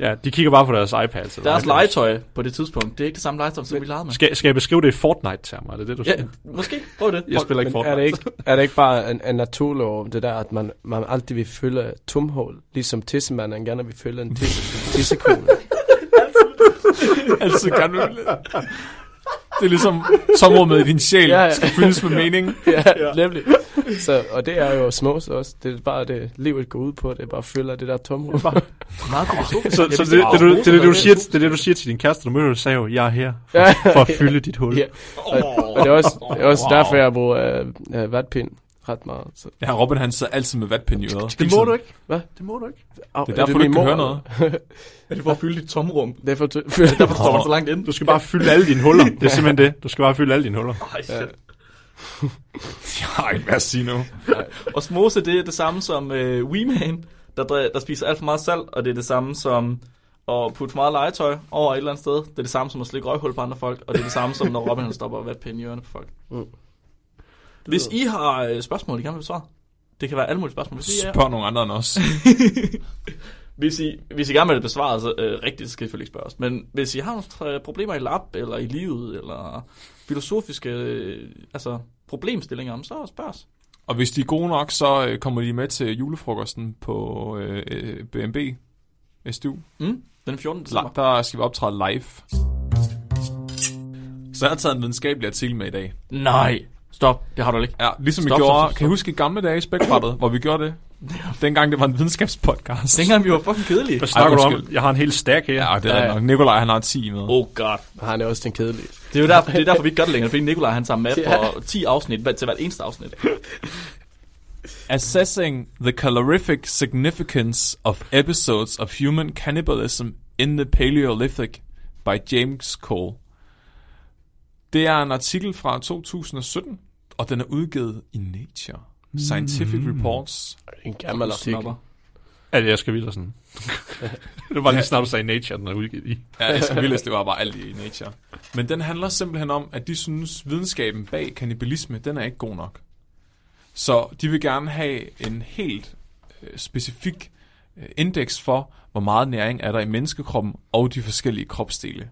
Speaker 5: Ja, de kigger bare på deres iPads. Eller
Speaker 2: Deres
Speaker 5: iPads.
Speaker 2: legetøj på det tidspunkt, det er ikke det samme legetøj, som vi legede med.
Speaker 5: Skal, skal jeg beskrive det i Fortnite-termer? Er det det, du siger?
Speaker 2: Ja, måske. Prøv det.
Speaker 5: jeg spiller ikke
Speaker 4: Men
Speaker 5: Fortnite.
Speaker 4: er det ikke, er det ikke bare en, en naturlov, det der, at man, man altid vil fylde et tomhul, ligesom tissemanden gerne vil fylde en tisse, tissekogle?
Speaker 1: Altid gerne vil. Det er ligesom tomrummet i din sjæl,
Speaker 4: Ja,
Speaker 1: ja,
Speaker 4: ja.
Speaker 1: ja. skal fyldes med mening.
Speaker 4: ja, nemlig. Så, og det er jo smås også. Det er bare det, livet går ud på. Det er bare at fylde det der tomhul.
Speaker 2: Meget filosofisk.
Speaker 5: Så, så det, altså. det, du, det, det, du siger, det er det, du siger til din kæreste, du møder, du sagde jo, jeg er her for,
Speaker 4: Ja.
Speaker 5: for at fylde dit hul.
Speaker 4: Ja. Og, og det er også, det er også wow. derfor, jeg bruger øh, øh, vatpind ret meget. Så.
Speaker 1: Ja, Robin han sidder altid med vatpind i øret.
Speaker 5: Det må du ikke.
Speaker 4: Hvad?
Speaker 5: Det må du ikke.
Speaker 4: Au,
Speaker 1: Det er
Speaker 4: er
Speaker 1: derfor, du
Speaker 4: min
Speaker 1: ikke kan
Speaker 4: mor?
Speaker 1: høre noget.
Speaker 2: Er det for at fylde dit tomrum?
Speaker 4: Det er for ty- fylde
Speaker 2: Derfor står man så langt inde.
Speaker 5: Du skal bare fylde alle dine huller. Det er simpelthen det. Du skal bare fylde alle dine huller.
Speaker 2: Ej, shit.
Speaker 1: Nej, hvad sige nu?
Speaker 2: Osmose, det er det samme som øh, Weeman, der, dre- der spiser alt for meget salt, og det er det samme som at putte for meget legetøj over et eller andet sted. Det er det samme som at slikke røghul på andre folk, og det er det samme som, når Robin han stopper at vatpinde i ørerne på folk.
Speaker 4: Mm.
Speaker 2: Hvis I har øh, spørgsmål, I gerne vil besvare, det kan være alle mulige spørgsmål. Hvis I, er,
Speaker 1: Spørg nogen andre end os.
Speaker 2: hvis I, hvis I gerne vil have det besvaret så, øh, rigtigt, så skal I selvfølgelig ikke spørge os. Men hvis I har nogle øh, problemer i lab, eller i livet, eller filosofiske øh, altså, problemstillinger, om, så spørg os.
Speaker 1: Og hvis de er gode nok, så øh, kommer de med til julefrokosten på øh, øh, BMB. SDU.
Speaker 2: Mm? Den 14. december.
Speaker 1: La- Der skal vi optræde live. Så jeg har taget en videnskabelig artikel med i dag.
Speaker 2: Nej. Stop. Det har du ikke.
Speaker 1: Ja, ligesom
Speaker 2: Stop,
Speaker 1: vi
Speaker 2: stop,
Speaker 1: gjorde...
Speaker 2: stop, stop.
Speaker 1: Kan I huske i gamle dage i Spækbrættet, hvor vi gjorde det? Dengang det var en videnskabspodcast.
Speaker 2: Dengang vi var fucking kedelige.
Speaker 5: Hvad snakker du om?
Speaker 1: undskyld.
Speaker 5: Jeg har en hel stack her.
Speaker 1: Ja,
Speaker 5: Ja.
Speaker 1: det er
Speaker 4: Ja,
Speaker 1: ja,
Speaker 4: ja.
Speaker 1: nok. Nikolaj, han har 10 med.
Speaker 2: Oh god.
Speaker 4: Han er også den kedelige.
Speaker 2: Det er jo derfor, det er derfor vi ikke gør det længere, fordi Nikolaj han tager med
Speaker 4: Ja.
Speaker 2: for 10 afsnit hver- til hvert eneste afsnit.
Speaker 1: Assessing the calorific significance of episodes of human cannibalism in the Paleolithic by James Cole. Det er en artikel fra 2017, og den er udgivet i Nature. Scientific Reports.
Speaker 4: En gammel artikel.
Speaker 2: Snopper.
Speaker 5: Altså, jeg skal videre sådan. det var lige snart, du sagde Nature, den er udgivet i.
Speaker 1: Ja, jeg skal vildest, det var bare alt i Nature. Men den handler simpelthen om, at de synes, videnskaben bag kannibalisme, den er ikke god nok. Så de vil gerne have en helt øh, specifik øh, indeks for, hvor meget næring er der i menneskekroppen og de forskellige kropsdele.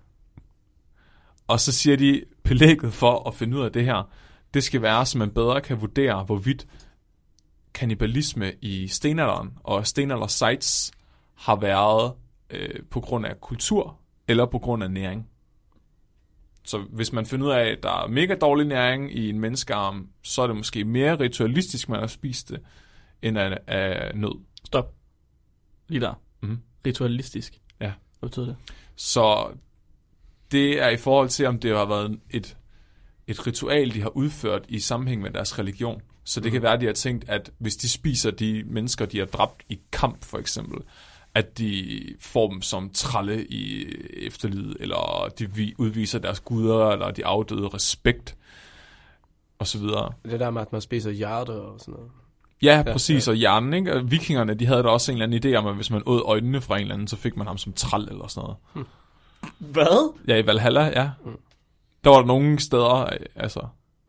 Speaker 1: Og så siger de, belægget for at finde ud af det her, det skal være, så man bedre kan vurdere, hvorvidt kannibalisme i stenalderen og stenalder sites har været øh, på grund af kultur eller på grund af næring. Så hvis man finder ud af, at der er mega dårlig næring i en menneskearm, så er det måske mere ritualistisk, man har spist det, end af, af nød.
Speaker 2: Stop. Lige der.
Speaker 1: Mhm.
Speaker 2: Ritualistisk.
Speaker 1: Ja.
Speaker 2: Hvad betyder det?
Speaker 1: Så det er i forhold til, om det har været et, et ritual, de har udført i sammenhæng med deres religion. Så det kan være, at de har tænkt, at hvis de spiser de mennesker, de har dræbt i kamp for eksempel, at de får dem som tralle i efterlivet, eller de vi- udviser deres guder, eller de afdøde respekt, og så videre.
Speaker 4: Det der med, at man spiser hjerter og sådan noget.
Speaker 1: Ja, præcis, og hjernen, ikke? Og vikingerne, de havde da også en eller anden idé om, at hvis man åd øjnene fra en eller anden, så fik man ham som træl eller sådan noget.
Speaker 2: Hvad?
Speaker 1: Ja, i Valhalla, ja. Der var der nogle steder, øh, altså...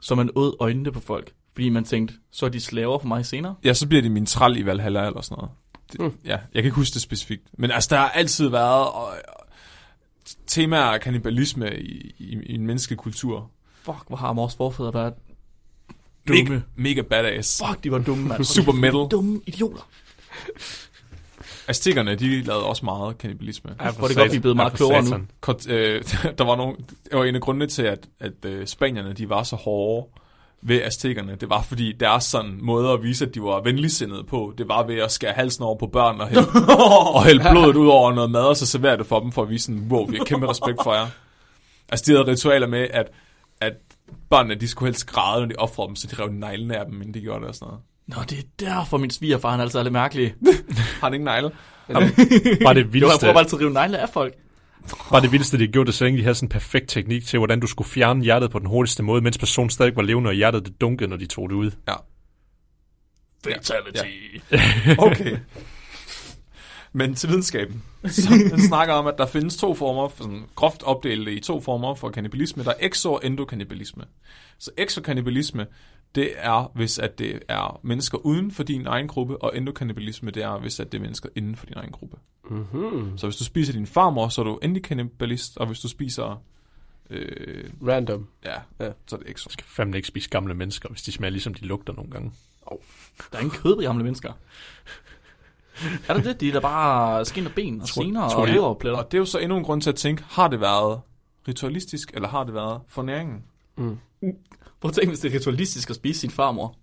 Speaker 2: Så man åd øjnene på folk, fordi man tænkte, så er de slaver for mig senere.
Speaker 1: Ja, så bliver det min træl i Valhalla eller sådan noget. Det, mm. Ja, jeg kan ikke huske det specifikt. Men altså, der har altid været og, og, temaer af kannibalisme i, i, i en menneskekultur.
Speaker 2: Fuck, hvor har vores forfædre været dumme.
Speaker 1: Mega, mega badass.
Speaker 2: Fuck, de var dumme, mand.
Speaker 1: Super metal.
Speaker 2: Dumme idioter.
Speaker 1: Aztekerne, de lavede også meget kannibalisme.
Speaker 5: Ja,
Speaker 2: hvor er det godt, vi er blevet meget klogere nu.
Speaker 1: Kort, øh, der var nogle, det var en af grundene til, at, at øh, spanierne de var så hårde ved aztekerne. Det var fordi deres sådan måde at vise, at de var venligsindede på, det var ved at skære halsen over på børn og hælde, og hælde blodet ud over noget mad, og så servere det for dem, for at vise sådan, wow, vi har kæmpe respekt for jer. Altså de havde ritualer med, at, at børnene de skulle helst græde, når de offrede dem, så de rev neglene af dem, inden de gjorde det og sådan noget.
Speaker 2: Nå, det er derfor min svigerfar, han er altid er lidt mærkelig.
Speaker 1: Har han ikke negle?
Speaker 5: Var det
Speaker 2: Jo, jeg
Speaker 5: vildeste,
Speaker 2: prøver bare altid at rive negle af folk.
Speaker 5: var det vildeste, de gjorde det, så længe de havde sådan en perfekt teknik til, hvordan du skulle fjerne hjertet på den hurtigste måde, mens personen stadig var levende, og hjertet det dunkede, når de tog det ud.
Speaker 1: Ja.
Speaker 2: Fatality.
Speaker 1: Okay. Men til videnskaben. Så den snakker om, at der findes to former, for sådan groft opdelt i to former for kannibalisme. Der er exo- og endokannibalisme. Så exokannibalisme, det er, hvis at det er mennesker uden for din egen gruppe, og endokannibalisme, det er, hvis at det er mennesker inden for din egen gruppe.
Speaker 2: Mhm.
Speaker 1: Mm-hmm. Så hvis du spiser din farmor, så er du endelig kannibalist, og hvis du spiser... Øh,
Speaker 4: Random.
Speaker 1: ja,
Speaker 4: Ja.
Speaker 1: ja, så er det exo.
Speaker 5: Du skal fandme ikke spise gamle mennesker, hvis de smager ligesom de lugter nogle gange.
Speaker 2: Der er ingen kød på gamle mennesker. Er det det? De er der bare skin og ben og senere
Speaker 5: tror
Speaker 2: og
Speaker 5: de-
Speaker 2: leverpletter.
Speaker 1: Og det er jo så endnu en grund til at tænke, har det været ritualistisk, eller har det været for næringen?
Speaker 2: Prøv at tænke, hvis det er ritualistisk at spise sin farmor.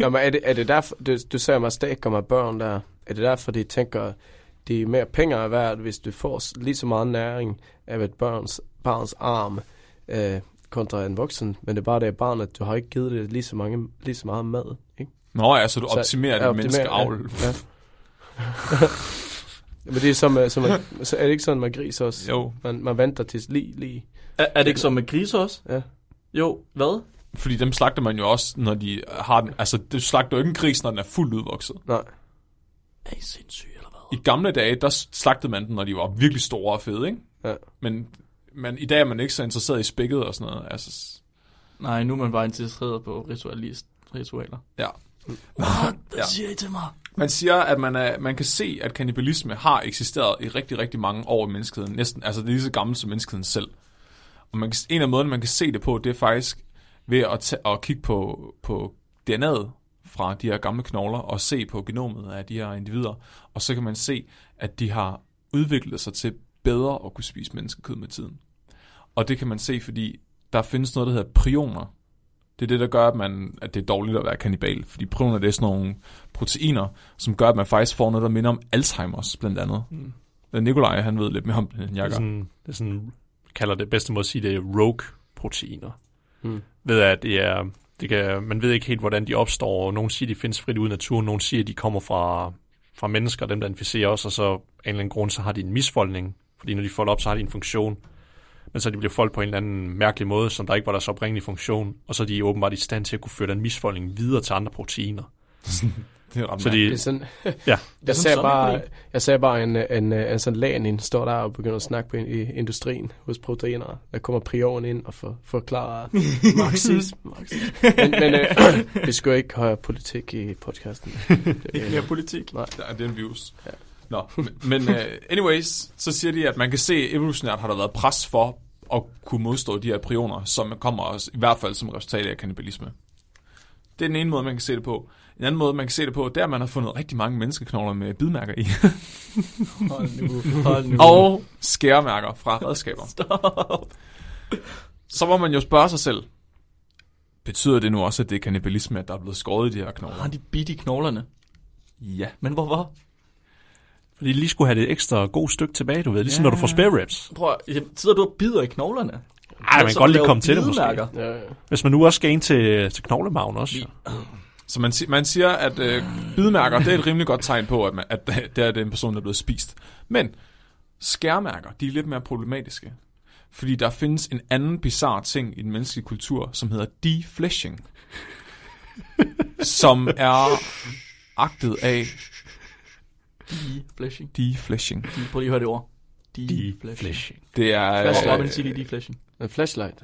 Speaker 4: Nå, men er det, er det derfor, du, du sagde mig stak og med børn der, er det derfor, de tænker, det er mere penge er værd, hvis du får s- lige så meget næring af et børns, barns arm øh, kontra en voksen, men det er bare det, at barnet, du har ikke givet det lige så, mange, lige så meget mad, ikke?
Speaker 1: Nå ja, så du
Speaker 4: Så-
Speaker 1: optimerer
Speaker 4: ja,
Speaker 1: så, din menneskeavl.
Speaker 4: Ja. Men det er som, øh, som at- så er det ikke sådan med gris også?
Speaker 1: Jo,
Speaker 4: Man, man venter til lige, lige.
Speaker 2: Er, er det ikke som med grise også?
Speaker 4: Ja.
Speaker 2: Jo, hvad?
Speaker 1: fordi dem slagter man jo også, når de har den. Altså, du slagter jo ikke en gris, når den er fuldt udvokset.
Speaker 4: Nej.
Speaker 2: Er I sindssyge eller hvad?
Speaker 1: I gamle dage, der slagtede man den, når de var virkelig store og fede, ikke?
Speaker 4: Ja.
Speaker 1: Men, men i dag er man ikke så interesseret i spækket og sådan noget. Altså, s-
Speaker 2: Nej, nu er man bare interesseret på ritualist, ritualer.
Speaker 1: ja.
Speaker 2: What? Hvad
Speaker 1: Ja.
Speaker 2: siger I til mig?
Speaker 1: Man siger, at man, er, man kan se, at kannibalisme har eksisteret i rigtig, rigtig mange år i menneskeheden. Næsten, altså det er lige så gammelt som menneskeheden selv. Og man kan, en af måderne, man kan se det på, det er faktisk ved at, tage, at kigge på, på DNA'et fra de her gamle knogler og se på genomet af de her individer, og så kan man se, at de har udviklet sig til bedre at kunne spise menneskekød med tiden. Og det kan man se, fordi der findes noget, der hedder prioner. Det er det, der gør, at, man, at det er dårligt at være kanibal. Fordi prioner, det er sådan nogle proteiner, som gør, at man faktisk får noget, der minder om Alzheimer's, blandt andet. Mm. Nikolaj, han ved lidt mere om det, end jeg
Speaker 5: Det er
Speaker 1: gør.
Speaker 5: sådan, det er sådan kalder det bedste måde at sige det, rogue-proteiner. Mm. Ved at det er, det kan, man ved ikke helt, hvordan de opstår, og nogen siger, de findes frit ude i naturen, nogen siger, de kommer fra, fra mennesker, dem der inficerer os, og så af en eller anden grund, så har de en misfoldning, fordi når de folder op, så har de en funktion, men så de bliver foldet på en eller anden mærkelig måde, som der ikke var deres oprindelige funktion, og så er de åbenbart i stand til at kunne føre den misfoldning videre til andre proteiner.
Speaker 1: Det er ret
Speaker 5: Så
Speaker 1: mærkeligt.
Speaker 5: de,
Speaker 4: Det er sådan,
Speaker 5: ja,
Speaker 4: jeg, ser
Speaker 2: sådan,
Speaker 4: bare, jeg ser bare en, øh, en, øh, Anson Lagen ind, står der og begynder at snakke på in- i industrien hos proteiner. Der kommer prioren ind og for, forklarer marxism. marxism. Men, men øh, vi skal jo ikke høre politik i podcasten.
Speaker 2: Ikke mere politik.
Speaker 1: Der er den views. Ja. Nå, men- men uh, anyways, så siger de, at man kan se, at evolutionært har der været pres for at kunne modstå de her prioner, som kommer også, i hvert fald som resultat af kannibalisme. Det er den ene måde, man kan se det på. En anden måde, man kan se det på, det er, at man har fundet rigtig mange menneskeknogler med bidmærker i.
Speaker 2: Hold nu.
Speaker 1: og skæremærker fra redskaber. Stop. Så må man jo spørge sig selv, betyder det nu også, at det er kannibalisme, at der er blevet skåret i de her knogler?
Speaker 2: Har de bidt i knoglerne?
Speaker 1: Ja.
Speaker 2: Men hvorfor?
Speaker 5: fordi de lige skulle have det ekstra gode stykke tilbage, du ved, ligesom når du får spare ribs.
Speaker 2: Prøv at, jamen, sidder du og bider i knoglerne?
Speaker 5: Ej, man kan
Speaker 2: Så
Speaker 5: godt lige
Speaker 2: laver
Speaker 5: komme til det måske.
Speaker 2: bidemærker.
Speaker 4: Ja, ja.
Speaker 5: Hvis man nu også skal ind til, til knoglemagen også. Ja.
Speaker 1: Så man, si- man siger, at øh, bidmærker, det er et rimelig godt tegn på, at, man, at det er den person, der er blevet spist. Men skærmærker, de er lidt mere problematiske. Fordi der findes en anden bizarre ting i den menneskelige kultur, som hedder defleshing. som er agtet af
Speaker 2: De-flashing.
Speaker 1: defleshing.
Speaker 2: De- Prøv lige at høre det ord. De-flashing.
Speaker 1: Det er,
Speaker 2: Hvad Robin
Speaker 1: øh,
Speaker 2: sige det, de-flashing?
Speaker 4: En flashlight.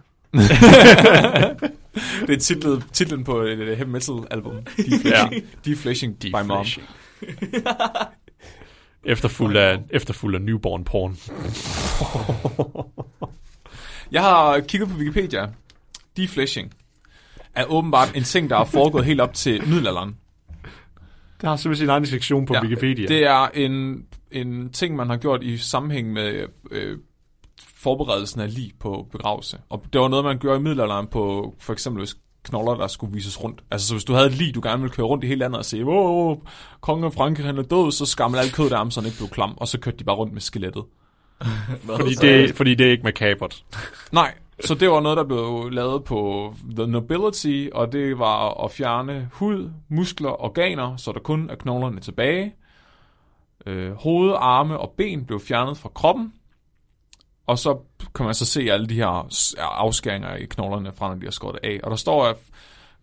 Speaker 1: det er titlet, titlen på et, et heavy metal album. Defleshing, defleshing by mom.
Speaker 5: Efterfuldt af, efterfuldt af newborn porn.
Speaker 1: Jeg har kigget på Wikipedia. Defleshing er åbenbart en ting, der er foregået helt op til middelalderen.
Speaker 5: Der har simpelthen sin egen sektion på ja, Wikipedia. Det,
Speaker 1: Det er en, en ting, man har gjort i sammenhæng med øh, forberedelsen af lig på begravelse. Og det var noget, man gjorde i middelalderen på for eksempel hvis knogler, der skulle vises rundt. Altså så hvis du havde et lig, du gerne ville køre rundt i hele landet og sige, åh, oh, kongen af Frankrig han er død, så skammel alt kødet af ham, så han ikke blev klam, og så kørte de bare rundt med skelettet.
Speaker 5: fordi, det, fordi det er ikke makabert.
Speaker 1: Nej, så det var noget, der blev lavet på The Nobility, og det var at fjerne hud, muskler, organer, så der kun er knoglerne tilbage. Øh, hoved, arme og ben blev fjernet fra kroppen. Og så kan man så se alle de her s- afskæringer i knoglerne fra, når de har skåret det af. Og der står, at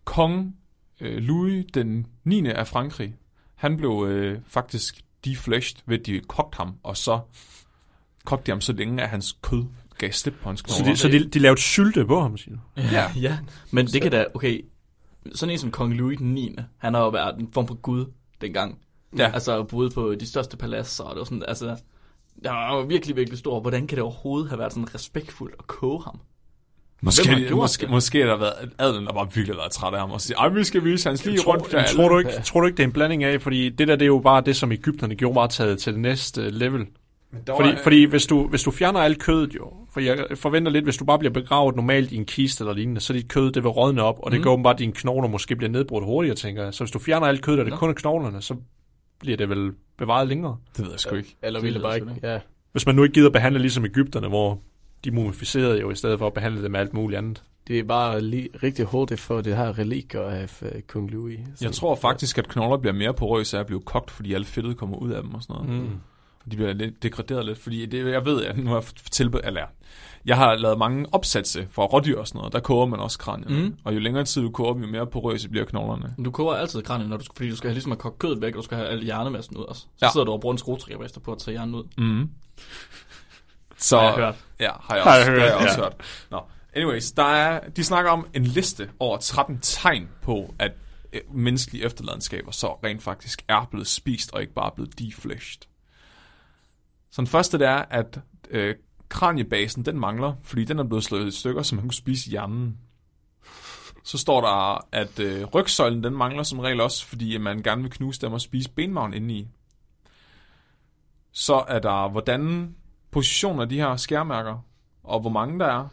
Speaker 1: kong øh, Louis den 9. af Frankrig, han blev øh, faktisk defleshed ved, at de kogte ham, og så kogte de ham så længe, at hans kød gav slip på hans knogler.
Speaker 5: Så, de, så de, de lavede sylte på ham, siger du?
Speaker 1: Ja.
Speaker 2: Ja, men det kan da, okay, sådan en som kong Louis den 9., han har jo været en form for gud dengang.
Speaker 1: Ja.
Speaker 2: Altså, og boede på de største paladser, og det var sådan, altså, der var jo virkelig, virkelig stor. Hvordan kan det overhovedet have været sådan respektfuldt at koge ham? Hvem har
Speaker 1: Måske,
Speaker 2: gjort
Speaker 1: måske,
Speaker 2: det?
Speaker 1: måske har der været adelen, der bare virkelig har været træt af ham og siger, ej, vi skal vise hans lige rundt.
Speaker 5: Tror, tror, du ikke, tror du ikke, det er en blanding af? Fordi det der, det er jo bare det, som Ægypterne gjorde meget taget til det næste øh, level. Fordi, fordi hvis, du, hvis du fjerner alt kødet jo, for jeg forventer lidt, hvis du bare bliver begravet normalt i en kiste eller lignende, så dit kød, det vil rådne op, og det mm. gør åbenbart, at dine knogler måske bliver nedbrudt hurtigere, tænker jeg. Så hvis du fjerner alt kødet, og det kun er knoglerne, så bliver det vel bevaret længere.
Speaker 1: det ved jeg sgu ikke.
Speaker 4: Eller ville bare ikke. Ja.
Speaker 5: Hvis man nu ikke gider behandle ligesom Ægypterne, hvor de mumificerede jo, i stedet for at behandle det med alt muligt andet.
Speaker 4: Det er bare lige, rigtig hurtigt for det her reliker af uh, Kong Louis.
Speaker 1: Jeg tror faktisk, at knogler bliver mere porøse af at blive kogt, fordi alt fedtet kommer ud af dem og sådan noget. Mm. De bliver lidt degraderet lidt, fordi det, jeg ved, at nu har jeg tilbud, eller jeg har lavet mange opsatse fra rådyr og sådan noget, der koger man også kranierne. Mm. Og jo længere tid du koger dem, jo mere porøse bliver knoglerne.
Speaker 2: Men Du koger altid kranen, når du, skal- fordi du skal have ligesom at koge kødet væk, og du skal have al hjernemassen ud også. Så
Speaker 1: Ja.
Speaker 2: ja. sidder du og bruger en skruetrækker bagefter på at tage hjernen ud.
Speaker 1: Mm. Så,
Speaker 2: Har jeg hørt.
Speaker 1: Ja, har jeg også,
Speaker 5: Har
Speaker 1: har
Speaker 5: jeg
Speaker 1: jeg det har
Speaker 5: hørt,
Speaker 1: jeg også
Speaker 5: ja.
Speaker 1: hørt. Nå. Anyways, der er, de snakker om en liste over 13 tegn på, at øh, menneskelige efterladenskaber så rent faktisk er blevet spist og ikke bare blevet defleshed. Så den første det er, at øh, kraniebasen den mangler, fordi den er blevet slået i stykker, så man kunne spise hjernen. Så står der, at øh, rygsøjlen den mangler som regel også, fordi at man gerne vil knuse dem og spise benmagen indeni. Så er der, hvordan positioner de her skærmærker, og hvor mange der er.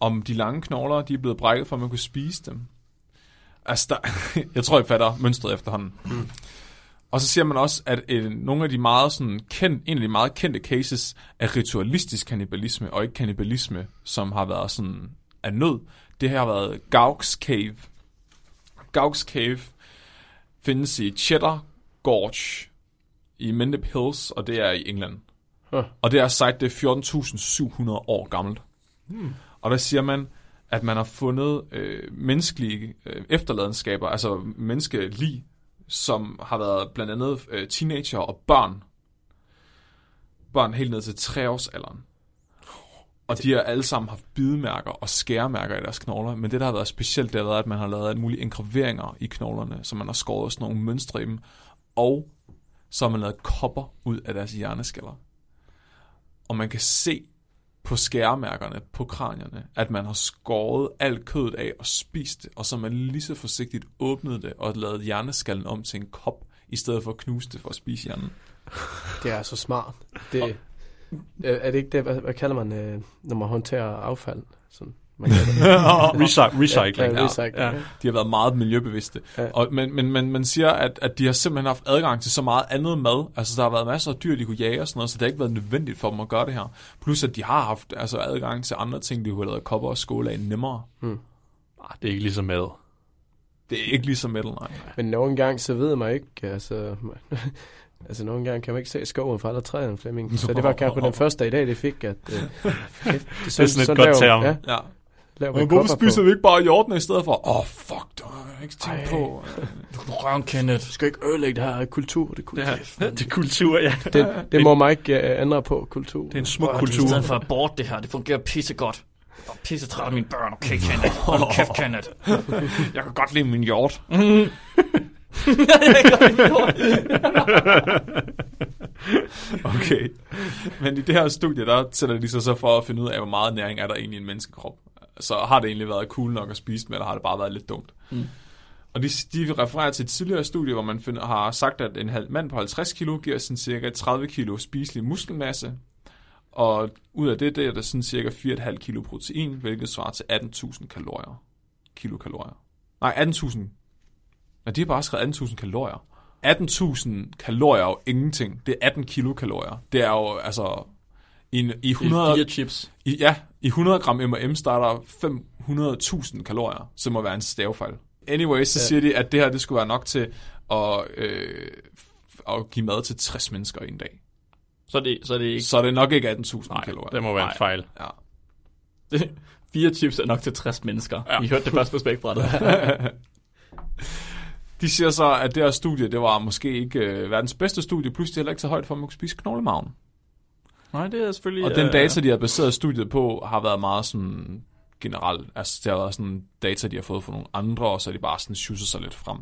Speaker 1: Om de lange knogler, de er blevet brækket, for at man kunne spise dem. Altså, der, jeg tror, jeg fatter mønstret efterhånden. Mm. Og så siger man også, at øh, nogle af de meget sådan kendt, en af de meget kendte cases er ritualistisk kannibalisme, og ikke kannibalisme, som har været sådan af nød. Det her har været Gauks Cave. Gauks Cave findes i Cheddar Gorge i Mendip Hills, og det er i England.
Speaker 4: Huh.
Speaker 1: Og det er site, det er 14.700 år gammelt. Og der siger man, at man har fundet øh, menneskelige øh, efterladenskaber, altså menneskelig, som har været blandt andet øh, teenager og børn. Børn helt ned til 3-årsalderen. Og de har alle sammen haft bidemærker og skæremærker i deres knogler, men det, der har været specielt, det har været, at man har lavet alt mulige engraveringer i knoglerne, så man har skåret sådan nogle mønstre i dem, og så har man lavet kopper ud af deres hjerneskaller. Og man kan se på skæremærkerne på kranierne, at man har skåret alt kødet af og spist det, og så har man lige så forsigtigt åbnet det og lavet hjerneskallen om til en kop, i stedet for at knuse det for at spise hjernen.
Speaker 4: Det er så smart. Det, øh, er det ikke det, hvad, hvad kalder man, øh, når man håndterer affald? Sådan, man kalder det.
Speaker 5: Recy- recycling.
Speaker 4: Ja, ja, recycling.
Speaker 5: Ja.
Speaker 4: Ja.
Speaker 1: De har været meget miljøbevidste.
Speaker 4: Ja.
Speaker 1: Og, men, men, men man siger, at, at de har simpelthen haft adgang til så meget andet mad. Altså, der har været masser af dyr, de kunne jage og sådan noget, så det har ikke været nødvendigt for dem at gøre det her. Plus, at de har haft altså, adgang til andre ting, de kunne have lavet kopper og skåle af nemmere.
Speaker 5: Ah, det er ikke ligesom mad.
Speaker 1: Det er ikke ligesom metal, nej.
Speaker 4: Men nogle gange, så ved man ikke, altså... Altså, nogle gange kan man ikke se skoven fra alle træerne, Flemming. Så det var kanskje den første dag i dag, det fik, at... Øh, det, det, det
Speaker 5: sådan et godt term.
Speaker 4: Ja,
Speaker 1: Ja.
Speaker 4: laver
Speaker 1: Men hvorfor
Speaker 4: man kopper på.
Speaker 1: spiser vi ikke bare hjortene i stedet for? Åh, oh, fuck, det har jeg ikke tænkt
Speaker 4: Ej.
Speaker 1: på.
Speaker 2: Røven, Kenneth.
Speaker 4: Du skal ikke ødelægge det her kultur. Det, kultur.
Speaker 5: Ja, det er kultur, ja.
Speaker 4: det, det må man ikke øh, ændre på, kultur.
Speaker 5: Det er en smuk
Speaker 6: I
Speaker 5: kultur.
Speaker 6: stedet for abort, det her. Det fungerer pissegodt. Jeg er pisse træt af mine børn. Okay, Kenneth. Hold oh. kæft, Kenneth.
Speaker 1: Jeg kan godt lide min hjort. Okay. Men i det her studie, der sætter de sig så for at finde ud af, hvor meget næring er der egentlig i en menneskekrop. Så har det egentlig været cool nok at spise dem, eller har det bare været lidt dumt? Mm. Og de, de refererer til et tidligere studie, hvor man finder, har sagt, at en halv mand på 50 kilo giver sådan cirka 30 kilo spiselig muskelmasse. Og ud af det, der er der sådan cirka 4,5 kilo protein, hvilket svarer til 18.000 kalorier. Kilokalorier. Nej, 18.000. Nej, de har bare skrevet 18.000 kalorier. 18.000 kalorier er jo ingenting. Det er 18 kilokalorier. Det er jo, altså... I, en- i 100,
Speaker 2: Fire chips.
Speaker 1: i, ja, i 100 gram M&M starter 500.000 kalorier, som må være en stavefejl. Anyway, så ja. siger de, at det her det skulle være nok til at, øh, f- at give mad til 60 mennesker i en dag.
Speaker 2: Så er det, så er det ikke...
Speaker 1: Så er det nok ikke 18.000 kalorier.
Speaker 5: Det må være en fejl.
Speaker 1: Ja.
Speaker 2: Fire chips er nok til 60 mennesker. Ja. I hørte det først på spækbrættet.
Speaker 1: De siger så, at det her studie, det var måske ikke øh, verdens bedste studie, plus de heller ikke så højt for, at man kunne spise knoglemagen.
Speaker 2: Nej, det er selvfølgelig...
Speaker 1: Og den
Speaker 2: øh,
Speaker 1: data, de har baseret studiet på, har været meget sådan generelt. Altså, det har været sådan data, de har fået fra nogle andre, og så er de bare sådan sjusset sig lidt frem.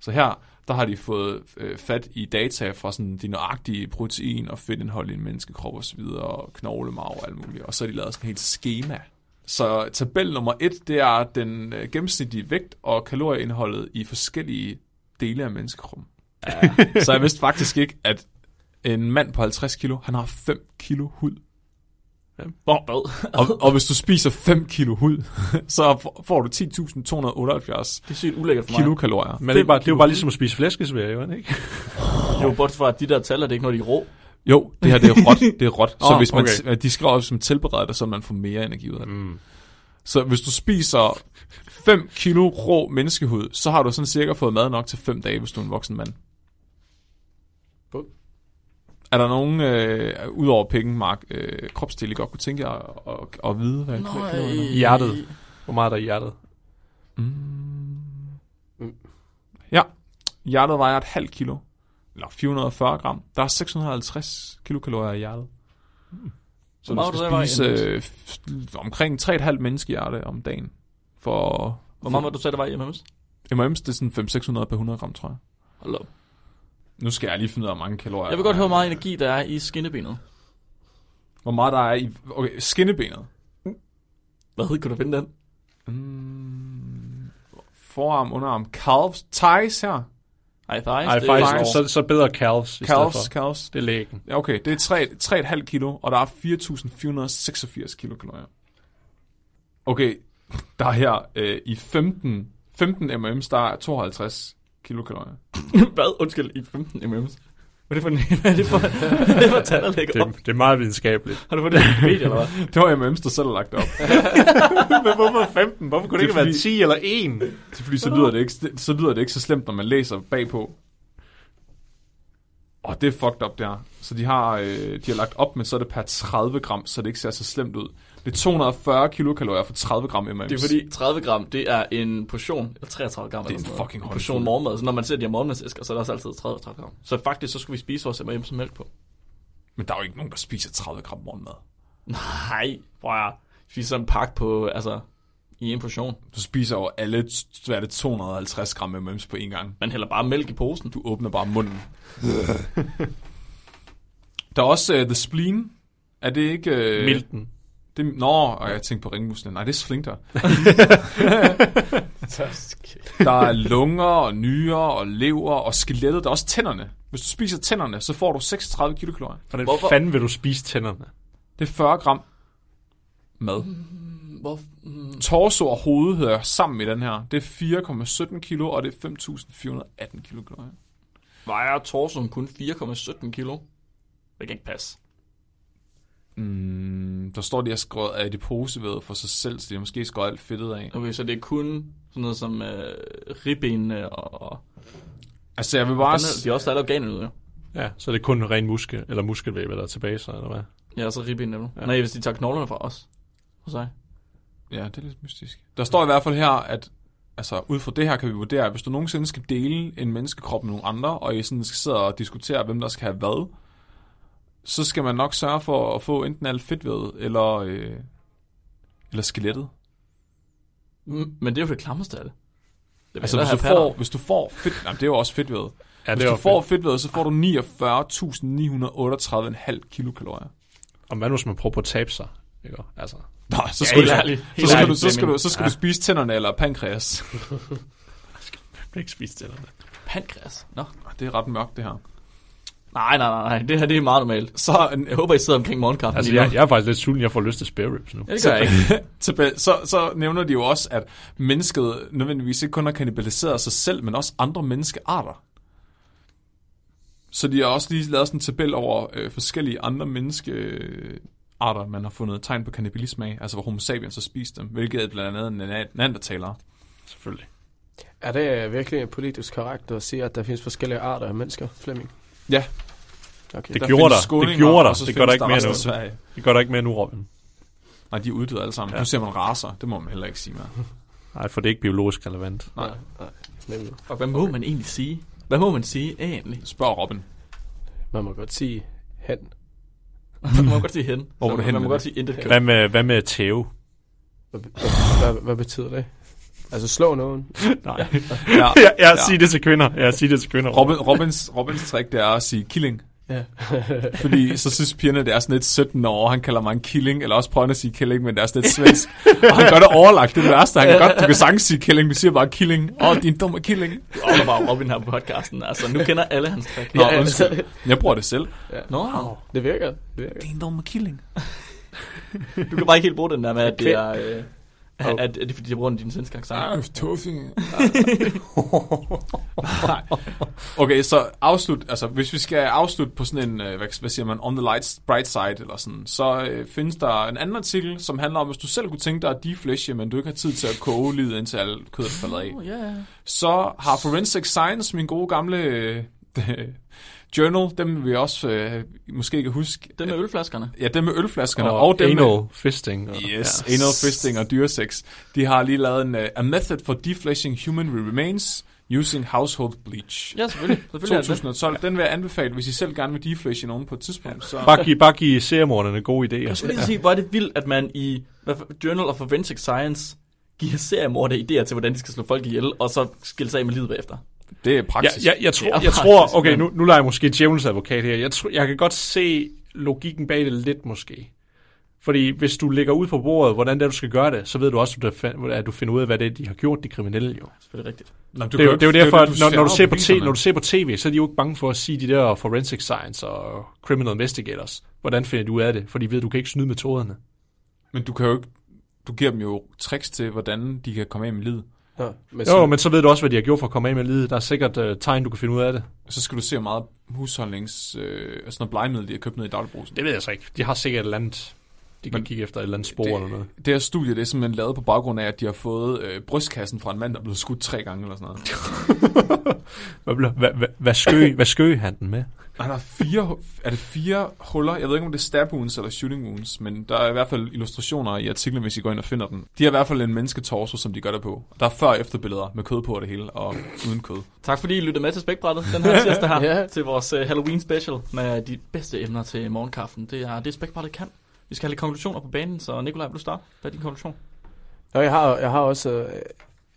Speaker 1: Så her, der har de fået øh, fat i data fra sådan de nøjagtige protein og fedtindhold i en menneskekrop osv., og knoglemarv og alt muligt. Og så har de lavet sådan et helt schema. Så tabel nummer et, det er den øh, gennemsnitlige vægt og kalorieindholdet i forskellige dele af menneskekroppen. Ja. så jeg vidste faktisk ikke, at en mand på 50 kilo, han har 5 kilo hud.
Speaker 2: Hvor hvad?
Speaker 1: Og, og hvis du spiser 5 kilo hud, så får- får du 10.278
Speaker 2: Det er sygt ulækkert for mig.
Speaker 1: kilokalorier.
Speaker 5: Men det er, bare, det er jo bare ligesom at spise flæskesvær, jo, ikke?
Speaker 2: Det er jo bortset fra, at de der tal er det ikke noget, de er rå.
Speaker 1: Jo, det her det er råt. Det er råt. Så
Speaker 5: Åh,
Speaker 1: hvis man,
Speaker 5: okay.
Speaker 1: okay. de skriver op som tilberedt, så man får mere energi ud af det. Mm. Så hvis du spiser 5 kilo rå menneskehud, så har du sådan cirka fået mad nok til 5 dage, hvis du er en voksen mand.
Speaker 4: Bum.
Speaker 1: Er der nogen, øh, udover penge, Mark, øh, kropstil, I godt kunne tænke jer at, at, at vide? Hvad Nej.
Speaker 5: I hjertet. Hvor meget er der i hjertet?
Speaker 1: Ja, hjertet vejer et halvt kilo, eller 440 gram. Der er 650 kilokalorier i hjertet. Så
Speaker 2: Hvor meget
Speaker 1: du
Speaker 2: var
Speaker 1: skal
Speaker 2: det,
Speaker 1: spise
Speaker 2: der var i
Speaker 1: øh, f- omkring 3,5 menneskehjerte om dagen. For
Speaker 2: Hvor meget var det, du sagde, der var i MMS?
Speaker 1: M&M's, det er sådan 500-600 per 100 gram, tror jeg.
Speaker 2: Hold op.
Speaker 1: Nu skal jeg lige finde ud af, hvor mange kalorier
Speaker 2: Jeg vil
Speaker 1: der
Speaker 2: godt
Speaker 1: er.
Speaker 2: høre, hvor meget energi der er i skinnebenet.
Speaker 1: Hvor meget der er i... Okay, skinnebenet.
Speaker 2: Hvad hed, kunne du finde den?
Speaker 1: Mm, forarm, underarm, calves, thighs her.
Speaker 2: Ej, thighs.
Speaker 5: Nej,
Speaker 2: det er
Speaker 5: faktisk,
Speaker 2: faktisk-
Speaker 5: så, så bedre calves, i stedet
Speaker 1: Calves,
Speaker 5: for.
Speaker 1: calves.
Speaker 5: Det er lægen.
Speaker 1: Ja, Okay, det er 3,5 kilo, og der er 4.486 kilokalorier. Okay, der er her øh, i 15, 15 mm's, der er 52 kilokalorier.
Speaker 2: Hvad? Undskyld, i 15 mm's. Hvad er det for, en- hvad er det for, hvad er det for tal, der lægger op?
Speaker 5: Det, det er meget videnskabeligt.
Speaker 2: Har du fået det i Wikipedia, eller hvad?
Speaker 1: Det var mm's, der selv er lagt op.
Speaker 5: Men hvorfor 15? Hvorfor kunne det,
Speaker 1: Det er
Speaker 5: ikke være
Speaker 1: fordi-
Speaker 5: 10 eller 1?
Speaker 1: Det er fordi, så lyder det ikke, så lyder det ikke så slemt, når man læser bagpå. Og det er fucked up, der. Så de har, øh, de har lagt op med, så er det per 30 gram, så det ikke ser så slemt ud. Det er 240 kilokalorier for 30 gram M&M's.
Speaker 2: Det er fordi 30 gram, det er en portion, eller 33 gram.
Speaker 1: en
Speaker 2: eller sådan noget.
Speaker 1: fucking
Speaker 2: en
Speaker 1: håndfuld.
Speaker 2: portion morgenmad. Så når man ser de her morgenmadsæsker, så er der også altid 30 30 gram. Så faktisk, så skulle vi spise vores M&M's med mælk på.
Speaker 1: Men der er jo ikke nogen, der spiser 30 gram morgenmad.
Speaker 2: Nej, prøv at spise sådan en pakke på, altså, i en portion.
Speaker 1: Du spiser jo alle hvad er det, 250 gram M&M's på en gang.
Speaker 2: Man hælder bare mælk i posen. Du
Speaker 1: Du åbner bare munden. der er også uh, The Spleen. Er det ikke... Uh,
Speaker 5: Milten.
Speaker 1: Det, nå, og jeg tænkte på ringmuslen. Nej, det er sflinkter. Der er lunger og nyrer og lever og skelettet. Der er også tænderne. Hvis du spiser tænderne, så får du 36 kilokalorier.
Speaker 5: Hvordan
Speaker 2: Hvorfor-
Speaker 5: Hvorfor? fanden vil du spise tænderne?
Speaker 1: Det er 40 gram mad.
Speaker 2: Mm, Hvor,
Speaker 1: Torso og hoved hedder sammen i den her. Det er 4,17 kilo, og det er 5.418 kilokalorier.
Speaker 2: vejer torsoen kun 4,17 kilo? Det kan ikke passe.
Speaker 1: Mm, der står, de har skåret adiposevævet for sig selv, så de har måske skåret alt fedtet af.
Speaker 2: Okay, så det er kun sådan noget som øh, ribbenene og... og
Speaker 1: Altså, jeg vil bare...
Speaker 2: de er også alle organerne ude, jo.
Speaker 5: Ja, så er det kun ren muskel, eller muskelvæve, der er tilbage, så, eller hvad?
Speaker 2: Ja, og så ribbenene. vel? Nej, hvis de tager knoglerne fra os. For sig.
Speaker 1: Ja, det er lidt mystisk. Der står i hvert fald her, at altså, ud fra det her kan vi vurdere, at hvis du nogensinde skal dele en menneskekrop med nogle andre, og I sådan skal sidde og diskutere, hvem der skal have hvad, så skal man nok sørge for at få enten alt fedtvævet, eller, øh, eller skelettet.
Speaker 2: Mm, Men det er jo det klammeste af det. det
Speaker 1: Altså, hvis du, får, hvis du får fedt... Nej, det er jo også fedtvævet.
Speaker 5: Ja,
Speaker 1: Hvis du får fedtvævet, så får du 49.938,5 kilokalorier.
Speaker 5: Og hvad nu, hvis man prøver på at tabe sig? Ikke? Altså,
Speaker 1: Nej, så skal,
Speaker 2: helt
Speaker 1: ja, du,
Speaker 2: ærligt.
Speaker 1: så
Speaker 2: Helt
Speaker 1: skal,
Speaker 2: ærligt,
Speaker 1: du, så skal,
Speaker 2: Flemming.
Speaker 1: du, så skal du spise tænderne eller pankreas.
Speaker 5: man ikke spise tænderne.
Speaker 2: Pankræs. Nå.
Speaker 1: Det er ret mørkt, det her.
Speaker 2: Nej, nej, nej, nej. Det her det er meget normalt.
Speaker 1: Så, en,
Speaker 2: Jeg håber, I sidder omkring morgenkaffen
Speaker 5: Altså,
Speaker 2: lige nu.
Speaker 5: jeg, jeg er faktisk lidt sulten, jeg får lyst til spare ribs nu.
Speaker 2: Ja, det gør jeg ikke.
Speaker 1: tilbage, så, så nævner de jo også, at mennesket nødvendigvis ikke kun har kannibaliseret sig selv, men også andre menneskearter. Så de har også lige lavet sådan en tabel over øh, forskellige andre menneskearter, man har fundet tegn på kannibalisme af, altså hvor homo sapiens har spist dem, hvilket er blandt andet nana- neandertalere.
Speaker 5: Selvfølgelig.
Speaker 4: Er det øh, virkelig politisk korrekt at sige, at der findes forskellige arter af mennesker, Flemming?
Speaker 1: Ja.
Speaker 4: Okay.
Speaker 5: Det
Speaker 1: Der
Speaker 5: gjorde
Speaker 1: findes
Speaker 5: der. Det
Speaker 1: skåninger,
Speaker 5: gjorde der.
Speaker 1: og så
Speaker 5: Det
Speaker 1: findes
Speaker 5: gør der ikke mere
Speaker 1: resten
Speaker 5: nu.
Speaker 1: af Sverige.
Speaker 5: Det gør der ikke mere nu, Robin.
Speaker 1: Nej, de er uddøde alle sammen. Ja.
Speaker 5: Ja.
Speaker 1: Nu ser man raser, det må man heller ikke sige mere.
Speaker 5: Nej, for det er ikke biologisk relevant.
Speaker 1: Nej.
Speaker 4: Nemlig.
Speaker 2: Fuck, hvad må man egentlig sige? Hvad må man sige egentlig?
Speaker 1: Spørg Robin.
Speaker 4: Man må godt sige hen.
Speaker 2: Man må godt sige hen.
Speaker 1: Hvor var du hen
Speaker 2: Man
Speaker 1: med
Speaker 2: må godt
Speaker 1: det?
Speaker 2: sige intet køn.
Speaker 5: Hvad med, hvad med tæve?
Speaker 4: Hvad, hvad, hvad betyder det? Altså slå nogen?
Speaker 5: Nej.
Speaker 1: Ja,
Speaker 5: Ja, jeg ja. siger det til kvinder. Jeg siger det til kvinder.
Speaker 1: Robin, Robins, Robins trick, det er at sige killing.
Speaker 4: Ja.
Speaker 1: Fordi så synes pigerne, det er sådan lidt 17 år, han kalder mig en killing, eller også prøver han at sige killing, men det er sådan lidt svensk. Og han gør det overlagt, det er det værste. Han kan godt, du kan sagtens sige killing, du siger bare killing. Åh, oh, din dumme killing.
Speaker 2: Og der bare Robin her på podcasten. Altså, nu kender alle hans trick.
Speaker 1: Nå,
Speaker 4: Ja,
Speaker 1: ja,
Speaker 4: altså.
Speaker 1: undskyld. Jeg bruger det selv.
Speaker 2: Nå,
Speaker 4: Det virker. Det virker.
Speaker 1: Din dumme killing.
Speaker 2: du kan bare ikke helt bruge den der med, at det er... Øh, at,
Speaker 1: Oh.
Speaker 2: at det er fordi, de bruger den i din svenske accent.
Speaker 1: tossing. okay, så afslut, altså hvis vi skal afslutte på sådan en, øh, hvad, hvad siger man, on the lights, bright side eller sådan, så øh, findes der en anden artikel, som handler om, hvis du selv kunne tænke dig at deflæsche, men du ikke har tid til at koge livet, indtil alt kødet er faldet
Speaker 6: Oh,
Speaker 1: af.
Speaker 2: Ja,
Speaker 1: Så har Forensic Science, min gode gamle øh, journal, dem vil jeg også øh, måske kan huske.
Speaker 2: den med ølflaskerne.
Speaker 1: Ja, dem med ølflaskerne og,
Speaker 5: og,
Speaker 1: og dem med,
Speaker 5: anal fisting. Og,
Speaker 1: Yes, ja. anal fisting og dyresex. De har lige lavet en uh, A Method for Defleshing Human Remains Using Household Bleach.
Speaker 2: Ja, selvfølgelig. selvfølgelig er det det.
Speaker 1: 2012. Den vil jeg anbefale, hvis I selv gerne vil deflashe nogen på et tidspunkt. Så
Speaker 5: Bare giv, bare giv seriemorderne gode
Speaker 2: Jeg
Speaker 5: idéer.
Speaker 2: skulle lige sige, hvor er det vildt, at man i hvad for- Journal of Forensic Science giver seriemorder idéer til, hvordan de skal slå folk ihjel, og så skille sig af med livet bagefter.
Speaker 1: det er
Speaker 5: Ja,
Speaker 1: praksis.
Speaker 5: jeg, jeg, tror,
Speaker 2: Det er
Speaker 5: jeg tror,
Speaker 2: praktisk,
Speaker 5: okay,
Speaker 2: men-
Speaker 5: nu, nu leger jeg måske djævelens advokat her. Jeg, tror, jeg kan godt se logikken bag det lidt måske. Fordi hvis du ligger ud på bordet, hvordan det er, du skal gøre det, så ved du også, at du fa- at du finder ud af, hvad det er, de har gjort, de kriminelle jo.
Speaker 2: selvfølgelig rigtigt.
Speaker 1: Nå,
Speaker 5: Du det, er jo, det er jo derfor, at når, når, du ser på
Speaker 1: t,
Speaker 5: t- når du ser på tv, så er de jo ikke bange for at sige de der forensic science og criminal investigators. Hvordan finder du ud af det? For de ved, du kan ikke snyde metoderne.
Speaker 1: Men du kan jo ikke... Du giver dem jo tricks til, hvordan de kan komme af med livet.
Speaker 4: Nå, men
Speaker 5: Jo,
Speaker 4: så,
Speaker 5: men så ved du også, hvad de har gjort for at komme af med livet. Der er sikkert uh, tegn, du kan finde ud af det.
Speaker 1: Så skal du se, hvor meget husholdnings... Øh, altså noget blegemiddel, de har købt ned i dagligbrugsen.
Speaker 5: Det ved jeg så ikke. De har sikkert et eller andet, de kan
Speaker 1: Men
Speaker 5: kigge efter et eller andet spor eller noget.
Speaker 1: det, det her studie, det er simpelthen lavet på baggrund af, at de har fået øh, brystkassen fra en mand, der er blevet skudt tre gange eller sådan noget.
Speaker 5: Hvad, blev- hvad, hvad, hvad, skø, hvad skø han den med?
Speaker 1: Han har fire, er det fire huller? Jeg ved ikke, om det er stab wounds eller shooting wounds, men der er i hvert fald illustrationer i artiklen, hvis I går ind og finder den. De har i hvert fald en mennesketorso, som de gør det på. Der er før- og efterbilleder med kød på og det hele, og uden kød.
Speaker 2: Tak fordi I lyttede med til Spækbrættet den her tirsdag her,
Speaker 4: Ja.
Speaker 2: ja. til vores uh, Halloween special med de bedste emner til morgenkaffen. Det er det, Spækbrættet kan. Vi skal have lidt konklusioner på banen, så Nikolaj, vil du starte? Hvad er din konklusion?
Speaker 4: Nå, jeg, har, jeg har også øh,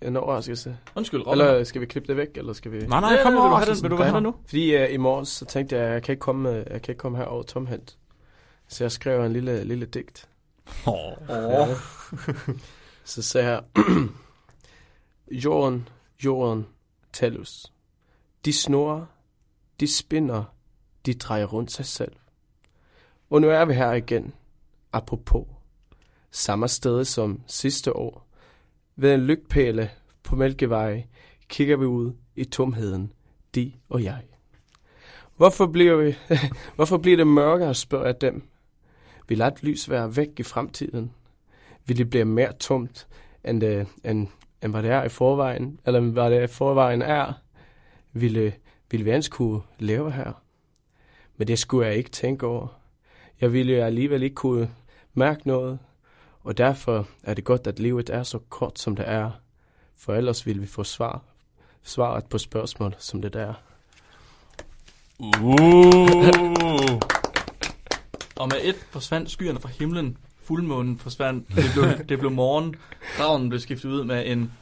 Speaker 4: en overraskelse.
Speaker 2: Undskyld, Robin.
Speaker 4: Eller skal vi klippe det væk, eller skal vi...
Speaker 1: Nej,
Speaker 2: Nej,
Speaker 1: nej, kom
Speaker 2: vil du
Speaker 1: over.
Speaker 2: have den, vil du have den nu?
Speaker 4: Fordi uh, i morges, så tænkte jeg, at jeg kan ikke komme, øh, jeg kan ikke komme herover tomhændt. Så jeg skrev en lille, lille digt.
Speaker 2: Åh,
Speaker 4: Så sagde jeg, Jorden, jorden, talus. De snorer, de spinder, de drejer rundt sig selv. Og nu er vi her igen, apropos. Samme sted som sidste år. Ved en lygtpæle på Mælkeveje kigger vi ud i tomheden, de og jeg. Hvorfor bliver, vi, hvorfor bliver det mørkere, spørger jeg dem. Vil et lys være væk i fremtiden? Vil det blive mere tomt, end, øh, end, end hvad det er i forvejen? Eller hvad det i forvejen er? Ville, ville vi anskue leve her? Men det skulle jeg ikke tænke over. Jeg ville jo alligevel ikke kunne mærke noget, og derfor er det godt, at livet er så kort, som det er. For ellers ville vi få svar, svaret på spørgsmål, som det der er.
Speaker 1: Uh.
Speaker 2: Og med et forsvandt skyerne fra himlen. Fuldmånen forsvandt. Det blev, det blev morgen. Ravnen blev skiftet ud med en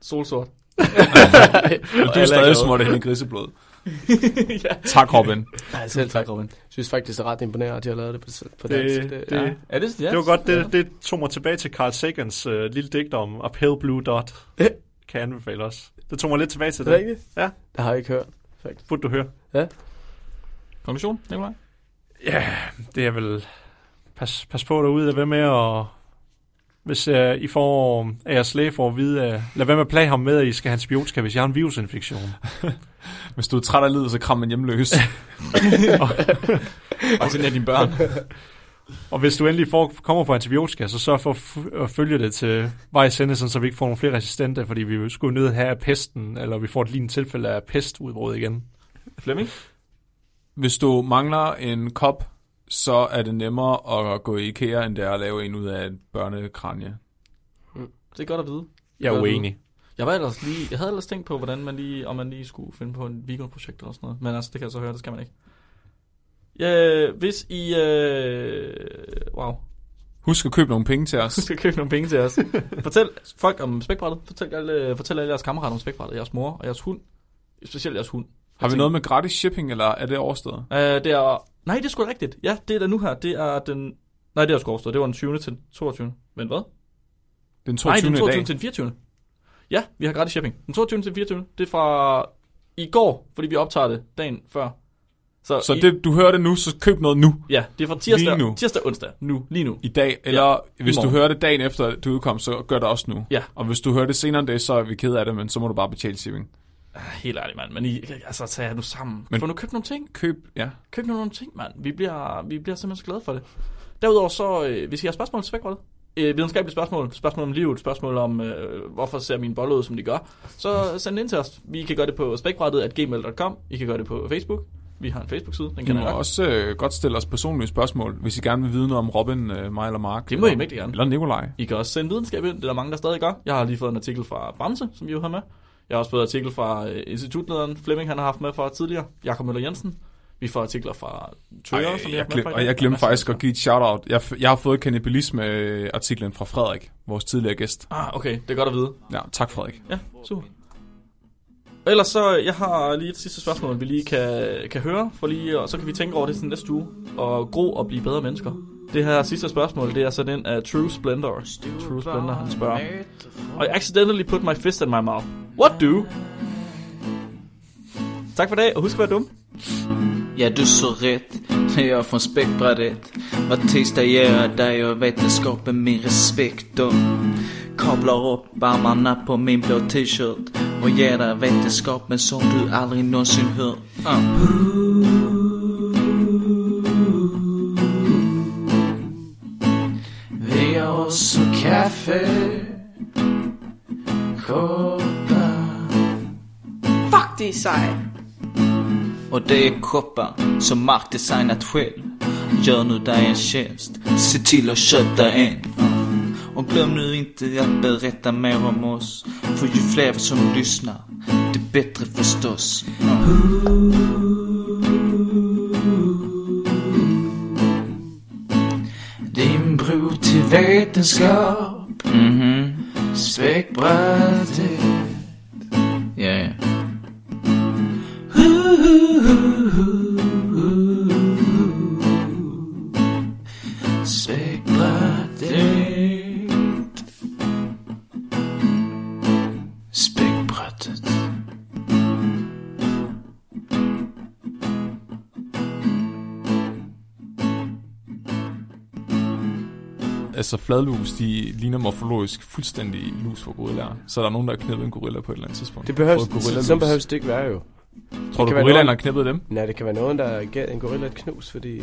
Speaker 2: solsort.
Speaker 1: Men du er stadig småt hen i griseblod. Tak, Robin.
Speaker 2: Nej, selv tak, Robin.
Speaker 4: Jeg synes faktisk, det er ret imponerende, at de har lavet det på, på
Speaker 5: Det-
Speaker 4: dansk.
Speaker 5: det-
Speaker 4: ja.
Speaker 2: Er det, ja,
Speaker 5: Det var godt, det, det tog mig tilbage til Carl Sagans øh, lille digt om A Pale Blue Dot.
Speaker 4: Ja.
Speaker 5: Kan jeg anbefale os. Det tog mig lidt tilbage til
Speaker 4: Er det
Speaker 5: det.
Speaker 4: rigtigt?
Speaker 5: Ja.
Speaker 4: Det har jeg ikke hørt.
Speaker 5: Burde du høre?
Speaker 2: Konklusion, Nikolaj?
Speaker 5: Ja, det er vel... Pas, pas på derude, at være med at... Hvis uh, I får af jeres læge får at vide, at lad være med at plage ham med, at I skal have antibiotika, hvis jeg har en virusinfektion.
Speaker 1: Hvis du er træt af livet, så kram en hjemløs.
Speaker 2: Og sådan er dine børn.
Speaker 5: Og hvis du endelig får, kommer på antibiotika, så sørg for at, f- at følge det til vejs ende, sådan så vi ikke får nogle flere resistente, fordi vi skulle nødt have af pesten, eller vi får et lignende tilfælde af pestudbrud igen.
Speaker 2: Flemming?
Speaker 1: Hvis du mangler en kop, så er det nemmere at gå i IKEA, end det er at lave en ud af et børnekranje.
Speaker 2: Det er godt at vide.
Speaker 5: Jeg er
Speaker 2: Hvad er det?
Speaker 5: uenig.
Speaker 2: Jeg, var ellers lige, jeg havde ellers tænkt på, hvordan man lige, om man lige skulle finde på en weekendprojekt eller sådan noget. Men altså, det kan jeg så høre, det skal man ikke. Ja, hvis I... Øh, wow.
Speaker 1: Husk at købe nogle penge til os.
Speaker 2: skal købe nogle penge til os. Fortæl folk om spækbrættet. Fortæl alle, fortæl alle jeres kammerater om spækbrættet. Jeres mor og jeres hund. Specielt jeres hund.
Speaker 1: Har vi noget med gratis shipping, eller er det overstået?
Speaker 2: Øh, det er... Nej, det er sgu da rigtigt. Ja, det er da nu her. Det er den... Nej, det er sgu overstået. Det var den 20. til 22. Men hvad?
Speaker 1: Den 22.
Speaker 2: Nej, den 22.
Speaker 1: i dag.
Speaker 2: til den 24. Ja, vi har gratis shipping. Den 22. til den 24. Det er fra i går, fordi vi optager det dagen før.
Speaker 1: Så
Speaker 2: i,
Speaker 1: det, du hører det nu, så køb noget nu.
Speaker 2: Ja, det er fra tirsdag,
Speaker 1: Lige nu.
Speaker 2: tirsdag onsdag. Nu, lige nu.
Speaker 1: I dag, eller ja, hvis du
Speaker 2: morgen.
Speaker 1: hører det dagen efter, du udkom, så gør det også nu.
Speaker 2: Ja.
Speaker 1: Og hvis du hører det senere end det, så er vi ked af det, men så må du bare betale shipping.
Speaker 2: Ah, Helt ærligt, mand. Men I, altså, tag jer nu sammen. Men,
Speaker 1: Men-
Speaker 2: Få nu købt nogle ting.
Speaker 1: Køb, ja.
Speaker 2: køb nu nogle ting, mand. Vi bliver, vi bliver simpelthen så glade for det. Derudover så, øh, hvis I har spørgsmål til spækbrættet, øh, videnskabelige spørgsmål, spørgsmål om livet, spørgsmål om, øh, hvorfor ser mine boller ud, som de gør, så send det ind til os. Vi kan gøre det på spækbrættet at gmail.com. I kan gøre det på Facebook. Vi har en Facebook-side, den
Speaker 1: I
Speaker 2: kan I
Speaker 1: må
Speaker 2: nok.
Speaker 1: også øh, godt stille os personlige spørgsmål, hvis I gerne vil vide noget om Robin, øh, mig eller Mark.
Speaker 2: Det må I
Speaker 1: eller-
Speaker 2: mægtig gerne.
Speaker 1: Eller Nikolaj.
Speaker 2: I kan også sende videnskab ind, det er der mange, der stadig gør. Jeg har lige fået en artikel fra Bamse, som vi jo har med. Jeg har også fået artikel fra øh, institutlederen Flemming, han har haft med fra tidligere. Jakob Møller Jensen. Vi får artikler fra Tøger,
Speaker 1: Ej,
Speaker 2: som vi har
Speaker 1: jeg
Speaker 2: haft med
Speaker 1: glem,
Speaker 2: fra i
Speaker 1: og
Speaker 2: dag.
Speaker 1: jeg
Speaker 2: Der er
Speaker 1: glemte
Speaker 2: masser af
Speaker 1: faktisk at
Speaker 2: mennesker.
Speaker 1: give et shout-out. Jeg, f- jeg har fået kanibalisme-artiklen fra Frederik, vores tidligere gæst.
Speaker 2: Ah, okay, det er godt at vide.
Speaker 1: Ja, tak Frederik.
Speaker 2: Ja, super. Og ellers så, jeg har lige et sidste spørgsmål, vi lige kan, kan høre, for lige, og så kan vi tænke over det sådan næste uge, og gro og blive bedre mennesker. Det her sidste spørgsmål, det er sådan en af True Splendor. True Splendor, han spørger. I accidentally put my fist in my mouth. What do? Tak for i dag, og husk at være dum.
Speaker 7: Ja, du så rätt. Det är från spektrat Vad tisdag gör jag där jag vetenskapen min respekt då. Kablar upp armarna på min blå t-shirt och ger dig vetenskapen som du aldrig någonsin hört. Uh. Vi har oss och kaffe, koppar
Speaker 8: Fuck, det er sejt.
Speaker 7: Och det är koppar som Mark designat själv Gör nu dig en tjänst, se till att köpa en Och glöm nu inte att berätta mer om oss För ju fler som lyssnar, det bättre förstås Din bro till vetenskap Mhm, Späckbrädet Ja, ja Spækbrættet. Spækbrættet.
Speaker 1: Altså fladlus, de ligner morfologisk fuldstændig lus for gorillaer. Så der er nogen, der har knippet en gorilla på et eller andet tidspunkt.
Speaker 4: Det behøves,
Speaker 1: Fået gorillalus.
Speaker 4: sådan behøves det ikke være jo.
Speaker 1: Tror du,
Speaker 4: kan være
Speaker 1: gorillaen har
Speaker 4: noget.
Speaker 1: knippet dem
Speaker 4: Nej, det kan være nogen, der gav en gorilla et knus, fordi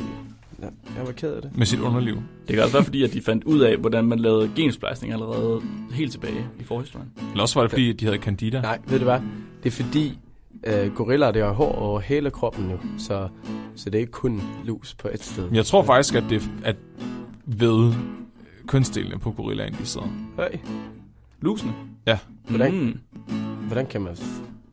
Speaker 4: Nej, jeg var ked af det.
Speaker 1: med sit underliv?
Speaker 2: Det kan også være fordi, at de fandt ud af, hvordan man lavede gensplejsning allerede helt tilbage i forhistorien.
Speaker 1: Eller også var det, fordi de havde candida.
Speaker 4: Nej, ved du hvad? Det er fordi øh, gorillaer, det har hår over hele kroppen nu, så, så det er ikke kun lus på et sted.
Speaker 1: Men jeg tror faktisk, at det at ved kønsdelene på gorillaen, de sidder.
Speaker 4: Hey,
Speaker 2: Lusene.
Speaker 1: Ja.
Speaker 4: Hvordan?
Speaker 2: Mm.
Speaker 4: hvordan kan man...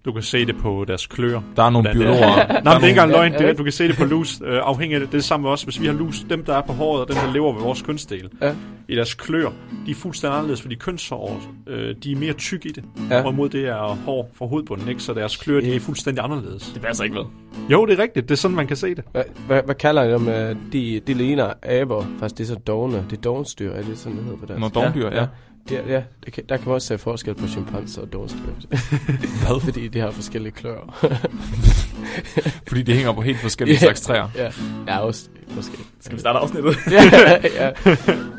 Speaker 5: Du kan se det på deres klør.
Speaker 1: Der er nogle
Speaker 5: Hvordan det er.
Speaker 1: biologer.
Speaker 5: Nej, men det er ikke engang løgn. Det,
Speaker 4: Ja,
Speaker 5: er- du kan se det på lus. Øh, afhængig af det, det er det samme med os. Hvis vi har lus, dem der er på håret, og dem der lever ved vores kønsdel,
Speaker 4: Ja.
Speaker 5: i deres klør, de er fuldstændig anderledes, fordi kønshår, øh, de er mere tykke i det.
Speaker 4: Ja.
Speaker 5: Ja. Hvorimod det er hår fra hovedbunden, ikke? Så deres klør, de er fuldstændig anderledes.
Speaker 2: Det passer ikke ved.
Speaker 5: Jo, det er rigtigt. Det er sådan, man kan se det.
Speaker 4: Hvad, hvad, hvad kalder I dem? øh, De, de ligner aber. Faktisk, det er så dogne. Det er dogenstyr, er det sådan, det hedder på dansk?
Speaker 1: Når dogndyr, ja.
Speaker 4: Det, ja, det kan, der kan man også se forskel på chimpanser og dogenstyr.
Speaker 1: Hvad?
Speaker 4: Fordi de har forskellige klør.
Speaker 1: Fordi det hænger på helt forskellige
Speaker 4: Ja.
Speaker 1: slags træer.
Speaker 4: ja, ja, også måske.
Speaker 2: Skal vi starte afsnittet?
Speaker 4: ja, ja.